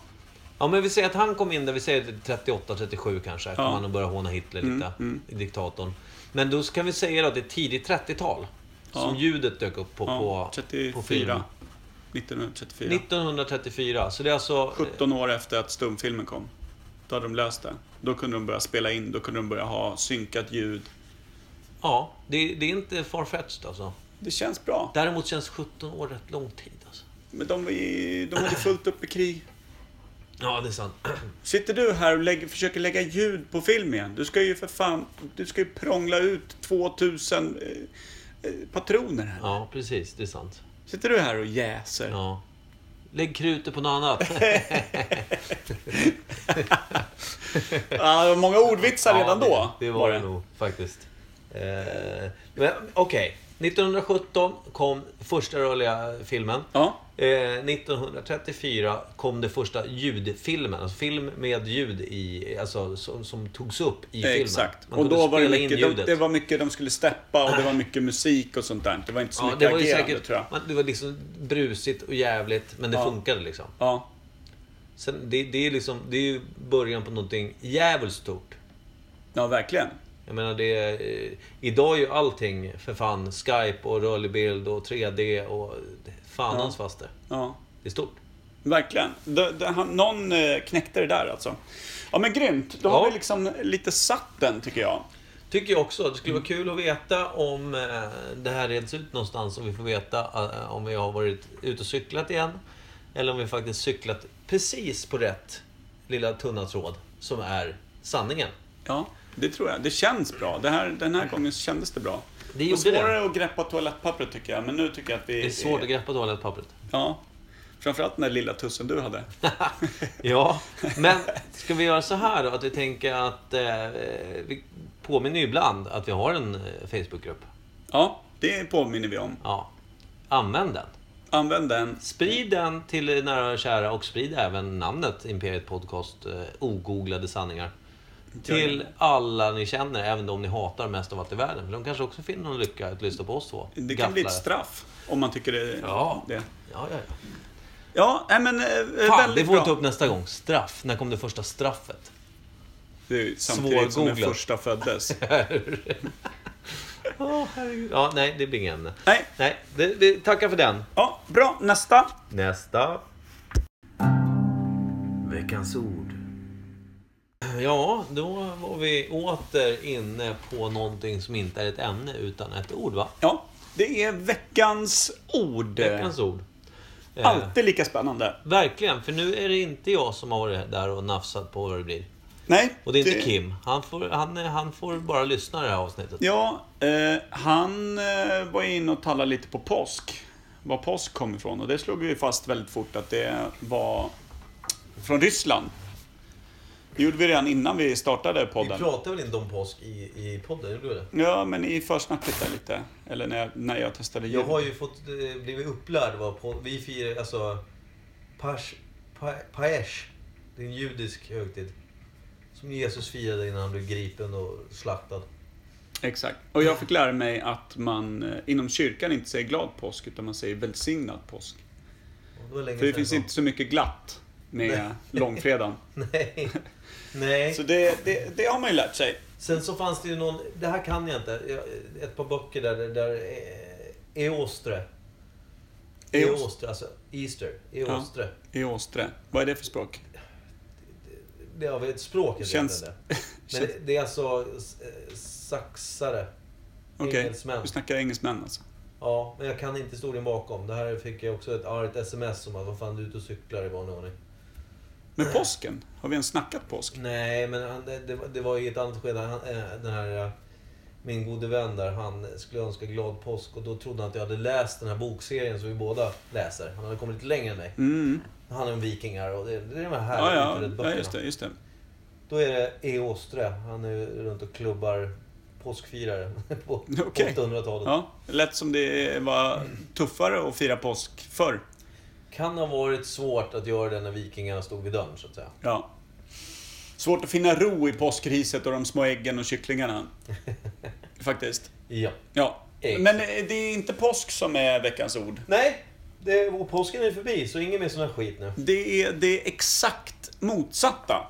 Speaker 1: Ja, men vi säger att han kom in där, vi säger 38, 37 kanske. Kom
Speaker 2: Ja.
Speaker 1: han och började håna Hitler lite, diktatorn. Men då kan vi säga då att det är tidigt 30-tal. Som
Speaker 2: Ja.
Speaker 1: ljudet dök upp på,
Speaker 2: ja.
Speaker 1: på, på film.
Speaker 2: 34. 1934.
Speaker 1: 1934. Så det är alltså...
Speaker 2: 17 år efter att stumfilmen kom. Då hade de löst det. Då kunde de börja spela in, då kunde de börja ha synkat ljud.
Speaker 1: Ja, det, det är inte farfetched alltså.
Speaker 2: Det känns bra.
Speaker 1: Däremot känns 17 år rätt lång tid alltså.
Speaker 2: Men de, var i- de hade fullt upp i krig.
Speaker 1: Ja, det är sant.
Speaker 2: Sitter du här och lägger, försöker lägga ljud på film igen? Du ska ju för fan, du ska ju prångla ut 2000 eh, eh, patroner här.
Speaker 1: Ja, precis. Det är sant.
Speaker 2: Sitter du här och jäser?
Speaker 1: Ja. Lägg krutet på något annat. <laughs>
Speaker 2: Ja, det var många ordvitsar redan
Speaker 1: Ja, det-
Speaker 2: då.
Speaker 1: Det var, det nog faktiskt. Eh, men okej. 1917 kom första rörliga filmen.
Speaker 2: Ja,
Speaker 1: Eh, 1934 kom det första ljudfilmen. Alltså film med ljud i, alltså som, som togs upp i filmen.
Speaker 2: Eh, exakt.
Speaker 1: Man
Speaker 2: Och
Speaker 1: kunde
Speaker 2: då var det
Speaker 1: spela in
Speaker 2: mycket, de,
Speaker 1: ljudet.
Speaker 2: det var mycket de skulle steppa och det var mycket musik och sånt där. Det var inte så
Speaker 1: ja,
Speaker 2: mycket
Speaker 1: det var ju
Speaker 2: agerande
Speaker 1: säkert,
Speaker 2: tror jag.
Speaker 1: man- Det var liksom brusigt och jävligt, men det
Speaker 2: Ja.
Speaker 1: funkade liksom.
Speaker 2: Ja,
Speaker 1: Sen, det, det, är liksom, det är ju början på någonting jävligt stort.
Speaker 2: ja verkligen.
Speaker 1: Jag menar det... är- Eh, idag är ju allting för fan Skype och rörlig bild och 3D och fan
Speaker 2: Ja.
Speaker 1: hans faste.
Speaker 2: Ja,
Speaker 1: Det är stort.
Speaker 2: verkligen. Det, det, han, någon eh, knäckte det där alltså. Ja men grymt. Då
Speaker 1: Ja.
Speaker 2: har vi liksom lite satt den tycker jag.
Speaker 1: Tycker jag också. Det skulle vara kul att veta om eh, det här reds ut någonstans. Om vi får veta eh, om vi har varit ute och cyklat igen. Eller om vi faktiskt cyklat precis på rätt lilla tunna tråd som är sanningen.
Speaker 2: Ja, det tror jag. Det känns bra. Det här, den här gången kändes det bra.
Speaker 1: Det
Speaker 2: var
Speaker 1: gjorde det.
Speaker 2: svårare att greppa toalettpappret tycker jag, men nu tycker jag att vi...
Speaker 1: Det är svårt att greppa toalettpappret.
Speaker 2: Ja. Framförallt den där lilla tussen
Speaker 1: <laughs>
Speaker 2: du hade.
Speaker 1: Ja, men ska vi göra så här då? Att vi tänker att eh, vi påminner ju ibland att vi har en eh, Facebookgrupp.
Speaker 2: Ja, det påminner vi om.
Speaker 1: Ja. Använd den.
Speaker 2: Använd den.
Speaker 1: Sprid den till nära och kära och sprid även namnet Imperiet Podcast, eh, ogooglade sanningar. Till alla ni känner, även de ni hatar mest av allt i världen. För de kanske också finner någon lycka att lyssna på oss två.
Speaker 2: Det kan bli ett
Speaker 1: Gafflare.
Speaker 2: straff om man tycker det.
Speaker 1: Ja.
Speaker 2: det.
Speaker 1: Ja, ja, ja.
Speaker 2: Ja, nej, men eh,
Speaker 1: Fan, det typ
Speaker 2: väldigt
Speaker 1: får vi
Speaker 2: bra.
Speaker 1: ta upp nästa gång. Straff. När kom det första straffet?
Speaker 2: Det är ju samtidigt som den
Speaker 1: Svårgooglat. <laughs>
Speaker 2: första föddes.
Speaker 1: Åh, herregud. Ja, nej, det blir inget ämne.
Speaker 2: Nej,
Speaker 1: Nej, det, vi tackar för den.
Speaker 2: ja, bra. Nästa.
Speaker 1: Nästa. Veckans ord. Ja, då var vi åter inne på någonting som inte är ett ämne utan ett ord, va?
Speaker 2: Ja, det är veckans ord.
Speaker 1: Veckans ord. Eh,
Speaker 2: Alltid lika spännande.
Speaker 1: Verkligen, för nu är det inte jag som har varit där och nafsat på vad det blir.
Speaker 2: Nej.
Speaker 1: Och det är inte Kim. Han får, han, han får bara lyssna i det här avsnittet.
Speaker 2: Ja, eh, han eh, var inne och talade lite på påsk. Var påsk kom ifrån. Och det slog vi fast väldigt fort att det var från Ryssland. Det gjorde vi redan innan vi startade
Speaker 1: vi
Speaker 2: podden.
Speaker 1: pratar väl inte om påsk i, i podden? Gjorde vi det?
Speaker 2: Ja, men i försnacket där lite. Eller när jag, när jag testade ljud.
Speaker 1: Jag har ju fått, eh, blivit upplärd vad på, vi firar, alltså Pash, pa, Paesh, det är en judisk högtid. Som Jesus firade innan han blev gripen och slaktad.
Speaker 2: Exakt. Och jag fick lära mig att man eh, inom kyrkan inte säger glad påsk, utan man säger välsignad påsk.
Speaker 1: Och det var länge
Speaker 2: För det
Speaker 1: sedan
Speaker 2: finns
Speaker 1: jag
Speaker 2: inte så mycket glatt med <laughs> långfredagen.
Speaker 1: kom. <laughs> Nej. Nej.
Speaker 2: Så det, det, det har man ju lärt sig.
Speaker 1: Sen så fanns det ju någon, det här kan jag inte, Jag- ett par böcker där, där eh, Eostre.
Speaker 2: Eos-
Speaker 1: Eostre, alltså Easter. Eostre.
Speaker 2: I Åstre. Vad är det för språk?
Speaker 1: Det har väl ett språk heter
Speaker 2: Känns- <laughs>
Speaker 1: det. Men
Speaker 2: Känns-
Speaker 1: det, det är alltså eh, saxare.
Speaker 2: Okej,
Speaker 1: Engelsmän.
Speaker 2: du snackar engelsmän alltså.
Speaker 1: Ja, men jag kan inte historien bakom. Det här fick jag också ett argt sms om att vad fan du är ute och cyklar i vanlig ordning.
Speaker 2: Men påsken? Har vi ens snackat påsk?
Speaker 1: Nej, men han, det, det var- det var i ett annat skede. Han, eh, den här, eh, min gode vän där, han skulle önska glad påsk och då trodde han att jag hade läst den här bokserien som vi båda läser. Han hade kommit lite längre än mig.
Speaker 2: Mm.
Speaker 1: Han handlar om vikingar och det, det är de här
Speaker 2: Ja, ja,
Speaker 1: utredd
Speaker 2: ja,
Speaker 1: böckerna.
Speaker 2: just det, just det.
Speaker 1: Då är det E. Åstre. Han är ju runt och klubbar påskfirare <laughs> på på
Speaker 2: Okej.
Speaker 1: 800-talet.
Speaker 2: Ja, lät som det var tuffare att fira påsk förr.
Speaker 1: Kan ha varit svårt att göra det när vikingarna stod vid dörren, så att säga.
Speaker 2: Ja. Svårt att finna ro i påskriset och de små äggen
Speaker 1: <laughs>
Speaker 2: och kycklingarna. Faktiskt.
Speaker 1: Ja.
Speaker 2: Ja.
Speaker 1: Ägg.
Speaker 2: Men eh, det är inte påsk som är veckans ord.
Speaker 1: Nej, det, och påsken är förbi, så ingen mer sån här skit nu.
Speaker 2: Det är det exakt
Speaker 1: <laughs>
Speaker 2: motsatta.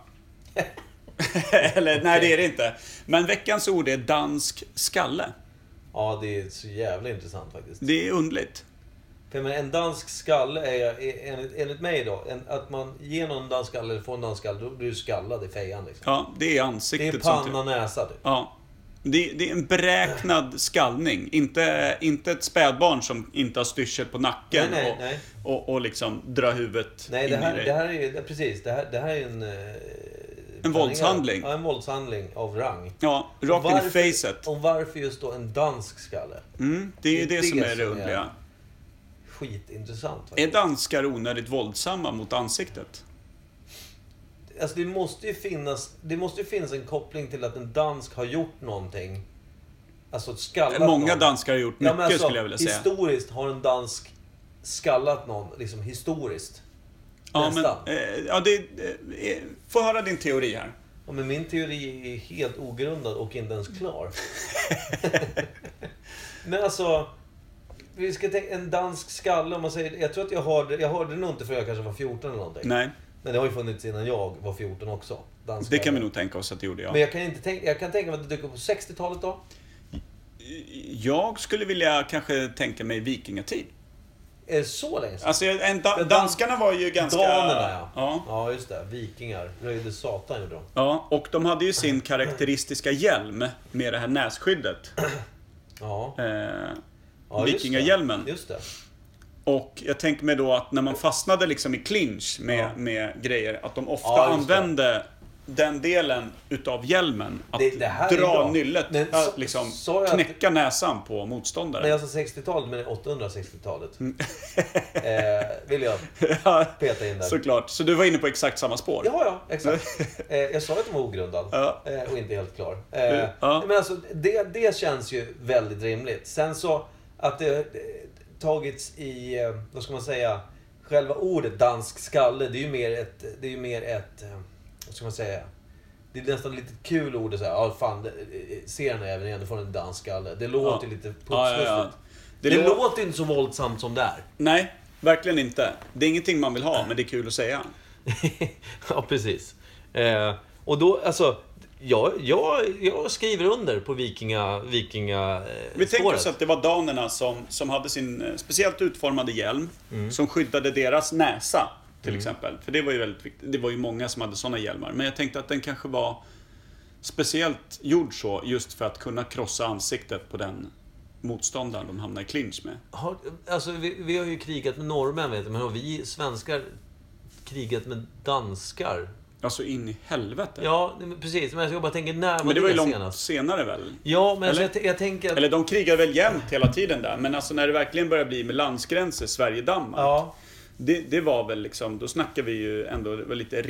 Speaker 2: Eller nej, det är det inte. Men veckans ord är dansk skalle.
Speaker 1: Ja, det är så jävla intressant faktiskt.
Speaker 2: Det är underligt.
Speaker 1: För jag menar, en dansk skalle är, jag- är- enligt, enligt mig då, en, att man ger någon dansk skalle eller får en dansk skalle, då blir du skallad i fejan liksom.
Speaker 2: Ja, det är
Speaker 1: Det är
Speaker 2: ansiktet som...
Speaker 1: panna, näsa typ.
Speaker 2: Ja. Det, det är en beräknad skallning. Inte, inte ett spädbarn som inte har styrsel på nacken
Speaker 1: Nej, nej,
Speaker 2: och,
Speaker 1: nej.
Speaker 2: Och, och liksom drar huvudet
Speaker 1: Nej, det
Speaker 2: in i
Speaker 1: här,
Speaker 2: dig.
Speaker 1: det här är ju, precis, det här, det här är en... eh, blandning av-
Speaker 2: våldshandling.
Speaker 1: Ja, en våldshandling av rang.
Speaker 2: Ja, rakt in i facet.
Speaker 1: Och varför just då en dansk skalle?
Speaker 2: Mm, det är ju det, som är det
Speaker 1: som
Speaker 2: underliga.
Speaker 1: Skitintressant
Speaker 2: Är
Speaker 1: faktiskt.
Speaker 2: danskar onödigt våldsamma mot ansiktet?
Speaker 1: Alltså det måste ju finnas, det måste ju finnas en koppling till att en dansk har gjort någonting. Alltså skallat
Speaker 2: Många
Speaker 1: någon.
Speaker 2: danskar har gjort mycket skulle jag vilja säga.
Speaker 1: alltså, Historiskt har en dansk skallat någon, liksom historiskt.
Speaker 2: Ja, men,
Speaker 1: Nästan.
Speaker 2: eh, ja, det, eh, eh, få höra din teori här.
Speaker 1: Ja, men min teori är helt ogrundad och inte ens
Speaker 2: <laughs>
Speaker 1: klar. men alltså... Vi ska tänka, en dansk skalle, om man säger... Jag tror att jag hörde, jag hörde nog inte förrän jag kanske var 14 eller någonting.
Speaker 2: Nej,
Speaker 1: Men det har ju funnits innan jag var 14 också. Dansk
Speaker 2: det kan
Speaker 1: skalle.
Speaker 2: vi nog tänka oss att det gjorde
Speaker 1: Men
Speaker 2: jag.
Speaker 1: jag kan, inte tänka, jag kan tänka mig att det dyker upp på 60-talet då.
Speaker 2: Jag skulle vilja kanske tänka mig vikingatid.
Speaker 1: Är det så länge sedan?
Speaker 2: Alltså, en da,
Speaker 1: Dan-
Speaker 2: danskarna var ju ganska...
Speaker 1: Danerna ja.
Speaker 2: ja.
Speaker 1: Ja, just det. Vikingar. Röjde satan gjorde de.
Speaker 2: Ja, och de hade ju sin karaktäristiska hjälm med det här nässkyddet.
Speaker 1: Ja.
Speaker 2: Eh,
Speaker 1: ja just det.
Speaker 2: Vikingahjälmen.
Speaker 1: Just det.
Speaker 2: Och jag tänker mig då att när man fastnade liksom i clinch med, med grejer, att de ofta
Speaker 1: Ja, just det.
Speaker 2: använde den delen utav hjälmen. Att
Speaker 1: Det- det här är
Speaker 2: dra
Speaker 1: bra.
Speaker 2: nyllet,
Speaker 1: Men
Speaker 2: äh,
Speaker 1: så-
Speaker 2: liksom
Speaker 1: sa jag att-
Speaker 2: knäcka näsan på motståndaren.
Speaker 1: När jag sa 60-talet, men det är 860-talet.
Speaker 2: Mm.
Speaker 1: eh, vill jag
Speaker 2: <laughs> Ja,
Speaker 1: peta in där.
Speaker 2: Såklart. Så du var inne på exakt samma spår?
Speaker 1: Ja, ja, exakt. Eh, jag sa att den var ogrundad
Speaker 2: Ja.
Speaker 1: eh, och inte helt klar. Eh,
Speaker 2: Ja.
Speaker 1: Men alltså, det, det känns ju väldigt rimligt. Sen så att det eh, tagits i, eh, vad ska man säga, själva ordet dansk skalle, det är ju mer ett, det är ju mer ett, eh, vad ska man säga, det är nästan lite kul ord att säga, ja fan, det- eh, ser den här även igen, då får den en dansk skalle. Det låter lite putslustigt.
Speaker 2: Ja, ja, ja.
Speaker 1: Det,
Speaker 2: Det lå-
Speaker 1: låter inte så våldsamt som det är.
Speaker 2: Nej, verkligen inte. Det är ingenting
Speaker 1: <laughs>
Speaker 2: man vill ha, men det är kul att säga.
Speaker 1: ja, precis. Eh, och då, alltså, jag, jag, jag skriver under på vikinga, vikinga eh,
Speaker 2: Vi tänker oss
Speaker 1: spåret.
Speaker 2: att det var danerna som, som hade sin eh, speciellt utformade hjälm
Speaker 1: Mm.
Speaker 2: som skyddade deras näsa till exempel. För det var ju väldigt viktigt. Det var ju många som hade sådana hjälmar. Men jag tänkte att den kanske var speciellt gjord så just för att kunna krossa ansiktet på den motståndaren de hamnade i clinch med.
Speaker 1: Har, alltså, vi, vi har ju krigat med norrmän, vet du, men har vi svenskar krigat med danskar?
Speaker 2: Alltså in i helvete.
Speaker 1: Ja, nej, men precis. Men jag bara tänker, när var
Speaker 2: men det var ju långt
Speaker 1: senast?
Speaker 2: senare väl?
Speaker 1: Ja, men alltså,
Speaker 2: Eller?
Speaker 1: jag, jag tänker att...
Speaker 2: Eller de krigar väl jämt hela tiden där, men alltså när det verkligen börjar bli med landsgränser, Sverige-Danmark.
Speaker 1: Ja.
Speaker 2: Det, det var väl liksom, då snackar vi ju ändå det var lite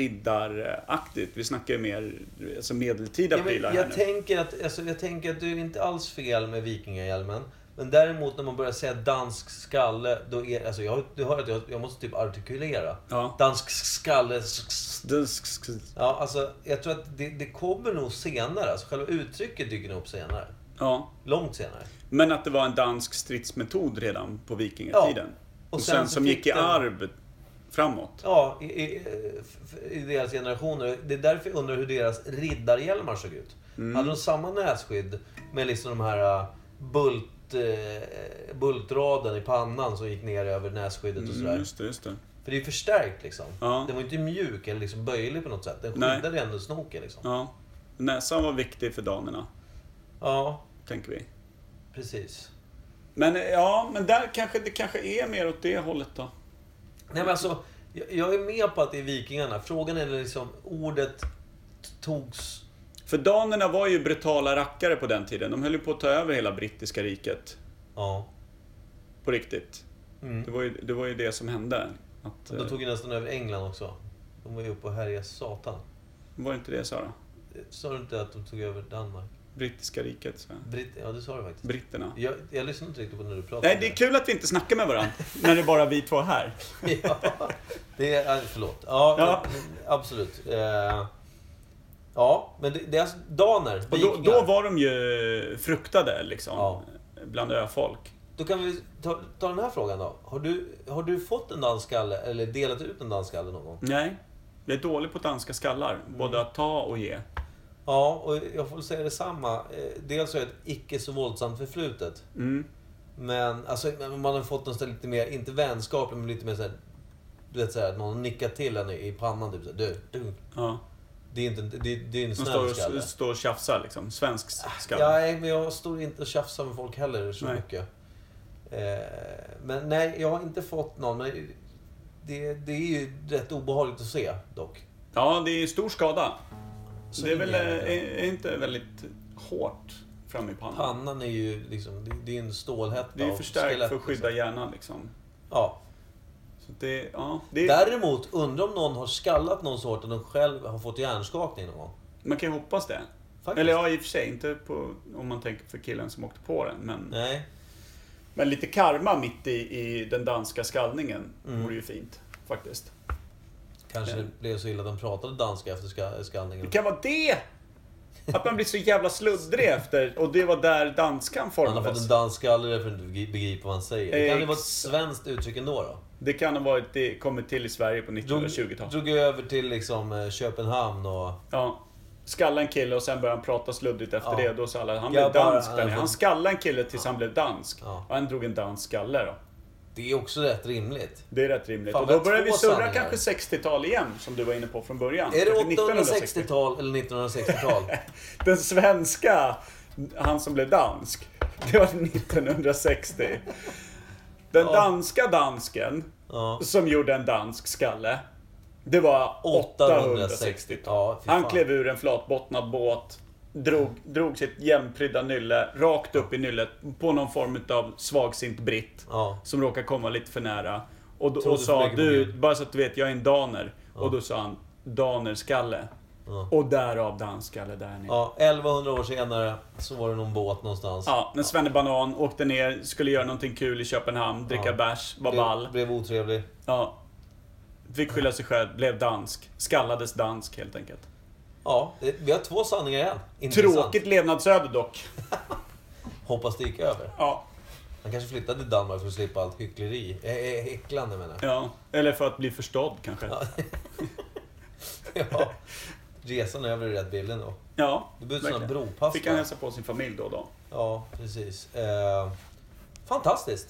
Speaker 2: riddaraktigt. Vi snackar ju mer alltså medeltida
Speaker 1: Ja, men
Speaker 2: prylar här
Speaker 1: jag,
Speaker 2: nu.
Speaker 1: tänker att, alltså, jag tänker att du är inte alls fel med vikingahjälmen. Men däremot när man börjar säga dansk skalle, då är alltså jag, Du hör att jag, jag måste typ artikulera.
Speaker 2: Ja.
Speaker 1: Dansk skalle... s- s-
Speaker 2: Dansk sk-
Speaker 1: Ja, alltså, jag tror att det, det kommer nog senare. Alltså, själva uttrycket dyker nog upp senare.
Speaker 2: Ja.
Speaker 1: Långt senare.
Speaker 2: Men att det var en dansk stridsmetod redan på vikingatiden.
Speaker 1: Ja.
Speaker 2: Och, sen, som
Speaker 1: fick
Speaker 2: gick i
Speaker 1: den-
Speaker 2: arv framåt.
Speaker 1: Ja, i, i, f- i deras generationer. Det är därför jag undrar hur deras riddarhjälmar såg ut.
Speaker 2: Mm.
Speaker 1: Hade de samma nässkydd med liksom de här äh, bult, eh, bultraden i pannan som gick ner över nässkyddet och sådär?
Speaker 2: Mm, just det, just det.
Speaker 1: För det är ju förstärkt liksom.
Speaker 2: Ja.
Speaker 1: Den var ju inte mjuk eller liksom böjlig på något sätt. Den
Speaker 2: Nej.
Speaker 1: skyddade ändå snoken liksom. Ja,
Speaker 2: Ja. Näsan var viktig för danerna, tänker vi.
Speaker 1: precis.
Speaker 2: Men ja, men där kanske det kanske är mer åt det hållet då.
Speaker 1: Nej men alltså, jag, jag är med på att det är vikingarna. Frågan är liksom, ordet t- togs...
Speaker 2: För danerna var ju brutala rackare på den tiden. De höll ju på att ta över hela brittiska riket.
Speaker 1: Ja.
Speaker 2: På riktigt.
Speaker 1: Mm.
Speaker 2: Det, var ju, det var ju det som hände. Att,
Speaker 1: Då
Speaker 2: eh,
Speaker 1: tog ju nästan över England också. De var ju uppe och härjade satan.
Speaker 2: eh, Var det inte det jag sa då?
Speaker 1: Sa du inte att de tog över Danmark?
Speaker 2: Brittiska riket, sa jag.
Speaker 1: Britt, ja, det sa du faktiskt.
Speaker 2: Britterna.
Speaker 1: Jag, jag lyssnade inte riktigt på när du pratade.
Speaker 2: Nej, det är kul att vi inte snackar med varandra. när det är bara vi två här.
Speaker 1: <laughs> ja, det är, nej, förlåt. Ja,
Speaker 2: Ja.
Speaker 1: men- absolut. Eh, ja, men det, det är alltså daner,
Speaker 2: Och då,
Speaker 1: vikingar.
Speaker 2: då var de ju fruktade liksom.
Speaker 1: Ja.
Speaker 2: Bland öfolk.
Speaker 1: Då kan vi ta, ta den här frågan då. Har du, har du fått en dansskalle eller delat ut en dansskalle någon gång?
Speaker 2: Nej. Jag är dålig på danska skallar. Både
Speaker 1: Mm.
Speaker 2: att ta och ge.
Speaker 1: Ja, och jag får säga detsamma. Eh, Dels har jag ett icke så våldsamt förflutet.
Speaker 2: Mm.
Speaker 1: Men alltså, men man har fått något lite mer, inte vänskapligt, men lite mer såhär... Du vet såhär, att någon nickar till en i- i pannan typ såhär, du, du.
Speaker 2: Ja.
Speaker 1: Det är inte, det, det är en
Speaker 2: De står
Speaker 1: snäll skalle. Ah,
Speaker 2: och, står och tjafsar liksom. Svensk skalle.
Speaker 1: Ja, nej, men jag står inte och tjafsar med folk heller så
Speaker 2: Nej.
Speaker 1: mycket. Eh, men nej, jag har inte fått någon. Men det, det är ju rätt obehagligt att se dock.
Speaker 2: Ja, det är stor skada.
Speaker 1: Så
Speaker 2: det är väl
Speaker 1: ingen jävla-
Speaker 2: eh, är, är inte väldigt hårt fram i pannan.
Speaker 1: Pannan är ju liksom, det, det är en stålhätta.
Speaker 2: Det är ju
Speaker 1: och
Speaker 2: förstärkt
Speaker 1: skelett,
Speaker 2: för att skydda hjärnan liksom.
Speaker 1: Ja.
Speaker 2: Så det, ja, det,
Speaker 1: Däremot, undrar om någon har skallat någon så hårt att de själv har fått hjärnskakning någon gång.
Speaker 2: man kan ju hoppas det.
Speaker 1: Faktiskt.
Speaker 2: Eller ja, i och för sig inte på, om man tänker för killen som åkte på den. Men,
Speaker 1: Nej.
Speaker 2: men lite karma mitt i, i den danska skallningen
Speaker 1: Mm.
Speaker 2: vore ju fint faktiskt.
Speaker 1: Kanske
Speaker 2: Nej.
Speaker 1: det blev så illa att de pratade danska efter ska- skallningen.
Speaker 2: Det kan vara det! Att man blir så jävla sluddrig efter och det var där danskan
Speaker 1: Han har fått en
Speaker 2: formades.
Speaker 1: dansk skalle för att inte begripa vad han säger. Det kan ju vara ett
Speaker 2: Ex-
Speaker 1: svenskt uttryck ändå då.
Speaker 2: Det kan ha varit, det kommit till i Sverige på
Speaker 1: Drog,
Speaker 2: 1920-talet.
Speaker 1: drog över till liksom eh, Köpenhamn och...
Speaker 2: Ja. Skalla en kille och sen började han prata sluddigt efter
Speaker 1: Ja.
Speaker 2: det. Då sa alla han
Speaker 1: Jag
Speaker 2: blev
Speaker 1: bara-
Speaker 2: dansk.
Speaker 1: han-
Speaker 2: Han, han skallade en kille tills han blev dansk.
Speaker 1: Ja.
Speaker 2: Och han drog en dansk skalle då.
Speaker 1: Det är också rätt rimligt.
Speaker 2: Det är rätt rimligt.
Speaker 1: Fan,
Speaker 2: och
Speaker 1: vi
Speaker 2: då
Speaker 1: har
Speaker 2: börjar vi
Speaker 1: två
Speaker 2: surra
Speaker 1: sanningar.
Speaker 2: kanske 60-tal igen, som du var inne på från början.
Speaker 1: Är det
Speaker 2: Kanske 1960.
Speaker 1: 860-tal eller
Speaker 2: <laughs>
Speaker 1: 1960-tal?
Speaker 2: Den svenska, han som blev dansk, det var 1960. Den danska dansken,
Speaker 1: Ja.
Speaker 2: som gjorde en dansk skalle, det var
Speaker 1: 860.
Speaker 2: 860.
Speaker 1: Ja, fy
Speaker 2: han
Speaker 1: fan.
Speaker 2: klev ur en flatbottnad båt, drog, drog sitt jämprydda nylle rakt upp i nyllet på någon form av svagsint britt.
Speaker 1: Ja.
Speaker 2: Som råkade komma lite för nära. Och, då,
Speaker 1: Trodde
Speaker 2: och sa
Speaker 1: för mycket på
Speaker 2: du,
Speaker 1: Gud."
Speaker 2: bara så att du vet, jag är en daner. Och då sa han, danerskalle. Och därav danskalle där nere.
Speaker 1: Ja, 1100 år senare så var det någon båt någonstans.
Speaker 2: Ja, när Svenne Banan åkte ner, skulle göra någonting kul i Köpenhamn, dricka bärs, var ball.
Speaker 1: Blev, blev otrevlig.
Speaker 2: Ja. Fick skylla sig själv, blev dansk. Skallades dansk helt enkelt.
Speaker 1: Ja, det- vi har två sanningar igen. Intressant.
Speaker 2: Tråkigt levnadsöde dock.
Speaker 1: Hoppas det gick över.
Speaker 2: Ja.
Speaker 1: Han kanske flyttade till Danmark för att slippa allt hyckleri. Äh, äh, häcklande menar jag.
Speaker 2: ja. Eller för att bli förstådd kanske.
Speaker 1: <laughs> Ja. resan över är rätt bilden då.
Speaker 2: Ja,
Speaker 1: Det behövs sådana
Speaker 2: verkligen.
Speaker 1: bropass.
Speaker 2: Fick han
Speaker 1: va?
Speaker 2: hälsa på sin familj då och då.
Speaker 1: Ja, precis. Eh, fantastiskt.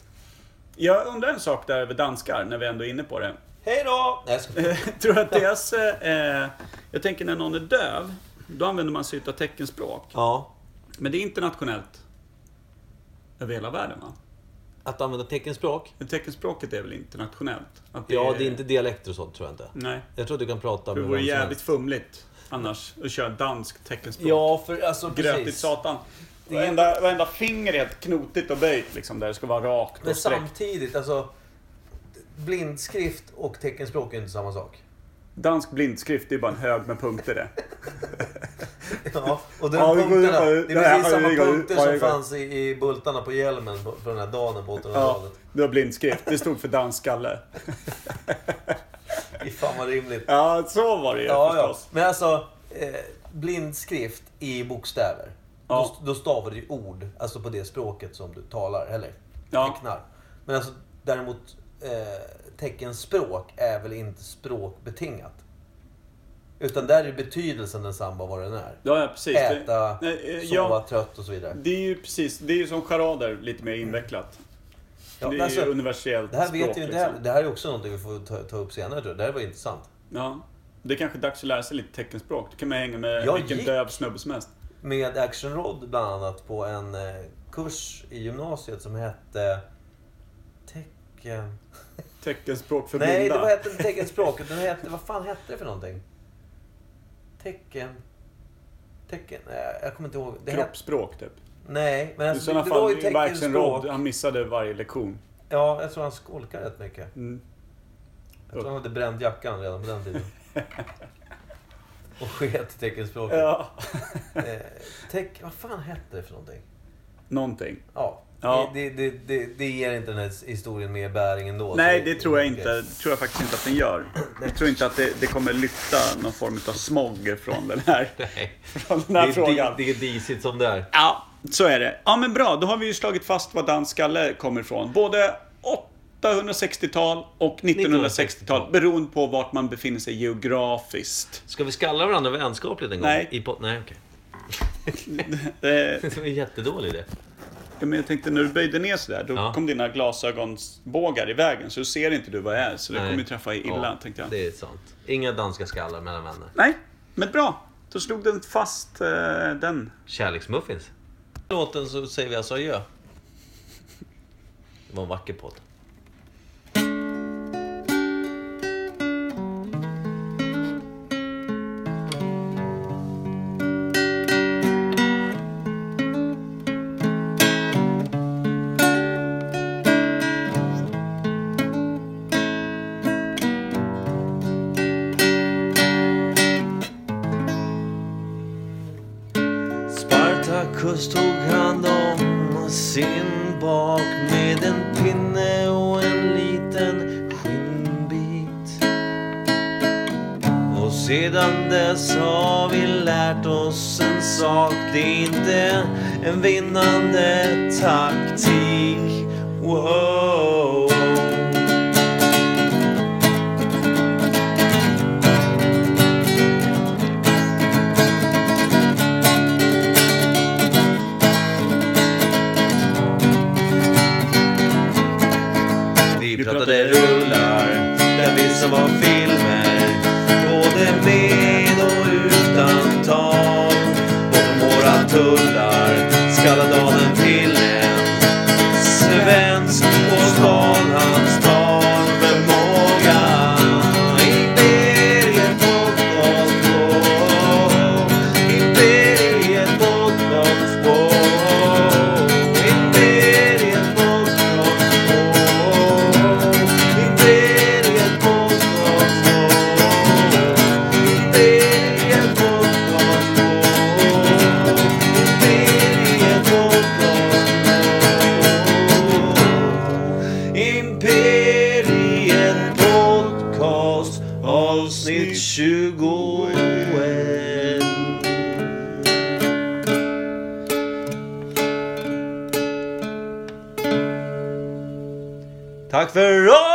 Speaker 2: Jag undrar en sak där över danskar, när vi ändå är inne på det.
Speaker 1: Hej då! Nej, jag skojar.
Speaker 2: Eh, <laughs> Tror du att deras... Eh, eh, jag tänker när någon är döv, då använder man sig utav teckenspråk.
Speaker 1: Ja,
Speaker 2: Men det är internationellt. Över hela världen va?
Speaker 1: att använda teckenspråk.
Speaker 2: Men teckenspråket är väl internationellt? Att
Speaker 1: Ja, det är inte dialekter och sånt tror jag inte.
Speaker 2: Nej.
Speaker 1: Jag tror att du kan prata
Speaker 2: Det
Speaker 1: med
Speaker 2: vore
Speaker 1: vem som
Speaker 2: jävligt
Speaker 1: helst.
Speaker 2: fumligt annars att köra dansk teckenspråk.
Speaker 1: Ja, för alltså
Speaker 2: Grötigt
Speaker 1: precis.
Speaker 2: satan.
Speaker 1: Det är-
Speaker 2: Varenda, varenda finger är helt knotigt och böjt liksom, där det ska vara rakt
Speaker 1: Men
Speaker 2: och sträckt.
Speaker 1: samtidigt, alltså. Blindskrift och teckenspråk är inte samma sak.
Speaker 2: Dansk blindskrift, det är bara en hög med punkter det.
Speaker 1: Ja, och de
Speaker 2: Ja, vi går
Speaker 1: punkterna,
Speaker 2: ut på-
Speaker 1: det
Speaker 2: det
Speaker 1: är
Speaker 2: här
Speaker 1: precis
Speaker 2: har
Speaker 1: samma
Speaker 2: vi gått ut
Speaker 1: punkter
Speaker 2: på,
Speaker 1: som
Speaker 2: jag går-
Speaker 1: fanns i, i bultarna på hjälmen på, på den här dagen på 1800-talet.
Speaker 2: Ja, det var blindskrift. Det stod för dansskalle.
Speaker 1: Fy fan vad rimligt.
Speaker 2: Ja, så var det ju
Speaker 1: Ja, ja.
Speaker 2: förstås.
Speaker 1: Men alltså, eh, blindskrift i bokstäver.
Speaker 2: Ja.
Speaker 1: Då, då stavar du ju ord, alltså på det språket som du talar, eller
Speaker 2: Ja.
Speaker 1: tecknar. Men alltså, däremot, eh, teckenspråk är väl inte språkbetingat? Utan där är betydelsen densamma vad den är.
Speaker 2: Ja, ja precis. Det-
Speaker 1: Äta,
Speaker 2: Nej, eh,
Speaker 1: sova,
Speaker 2: ja,
Speaker 1: trött och så vidare.
Speaker 2: det är ju precis. Det är ju som charader, lite mer invecklat.
Speaker 1: Ja,
Speaker 2: det är
Speaker 1: men alltså,
Speaker 2: ju universellt
Speaker 1: det här vet
Speaker 2: språk,
Speaker 1: ju inte
Speaker 2: liksom.
Speaker 1: heller. Det här är också någonting vi får ta, ta upp senare tror jag. Det här var intressant.
Speaker 2: Ja. Det är kanske dags att lära sig lite teckenspråk. Då kan man hänga med
Speaker 1: Jag
Speaker 2: vilken
Speaker 1: gick-
Speaker 2: döv snubbe som helst.
Speaker 1: Med Action Rod bland annat på en eh, kurs i gymnasiet som hette... Tecken...
Speaker 2: Teckenspråk för
Speaker 1: Nej, det
Speaker 2: blinda.
Speaker 1: var hette inte teckenspråk. utan Det hette, vad fan hette det för någonting? Tecken... Tecken... Nej, jag kommer inte ihåg. Det hette,
Speaker 2: Kroppsspråk, typ.
Speaker 1: nej, men
Speaker 2: I
Speaker 1: alltså, det,
Speaker 2: sådana
Speaker 1: det var
Speaker 2: fall,
Speaker 1: ju
Speaker 2: det var Axel Rod,
Speaker 1: teckenspråk.
Speaker 2: han missade varje lektion.
Speaker 1: Ja, jag tror han skolkar rätt mycket.
Speaker 2: Mm.
Speaker 1: Jag tror han hade bränt jackan redan på
Speaker 2: <laughs>
Speaker 1: den tiden. Och sket i teckenspråket.
Speaker 2: Ja. <laughs>
Speaker 1: Eh, tech, vad fan hette det för någonting?
Speaker 2: Någonting.
Speaker 1: Ja.
Speaker 2: Ja.
Speaker 1: Det, det, det, det ger inte den här historien mer bäring ändå.
Speaker 2: Nej,
Speaker 1: Så
Speaker 2: det tror jag inte. Det tror jag faktiskt inte att den gör. Jag tror inte att det, det kommer lyfta någon form av smog från den här,
Speaker 1: <laughs> <laughs> Nej.
Speaker 2: från den
Speaker 1: Det
Speaker 2: här
Speaker 1: är,
Speaker 2: frågan.
Speaker 1: di- det är disigt som det är.
Speaker 2: Ja, så är det. Ja, men bra. Då har vi ju slagit fast var dansskalle kommer ifrån. Både 860-tal och 1960-tal, beroende på vart man befinner sig geografiskt. <laughs>
Speaker 1: Ska vi skalla varandra vänskapligt en gång?
Speaker 2: Nej.
Speaker 1: I pod- Nej, okej. <laughs>
Speaker 2: Eh,
Speaker 1: Det var en jättedålig idé.
Speaker 2: ja, men jag tänkte, när du böjde ner sådär, då
Speaker 1: Ja.
Speaker 2: kom dina glasögonsbågar i vägen, så ser inte du vad jag är. Så det
Speaker 1: Nej.
Speaker 2: kommer ju träffa illa,
Speaker 1: Ja,
Speaker 2: tänkte jag.
Speaker 1: Det är sant. Inga danska skallar mellan vänner.
Speaker 2: Nej, men bra. Då slog den fast eh, den.
Speaker 1: Kärleksmuffins. Låten så säger vi alltså adjö. Det var en vacker podd. Spartacus tog hand om sin bak med en pinne och en liten skinnbit. Och sedan dess har vi lärt oss en sak. Det är inte en vinnande taktik. Wow. Vi pratade rullar, där vi som var filmer. Både med och utan tal. Bortom våra tullar skallade av den till en svensk och stal hans talförmåga. Imperiet fotboll, wow. Imperiet fotboll, wow. Imperiet fotboll, wow. Imperiet fotboll, wow. Imperiet fotboll, wow. Imperiet fotboll, wow. Imperiet Podcast avsnitt 21. Tack för oss!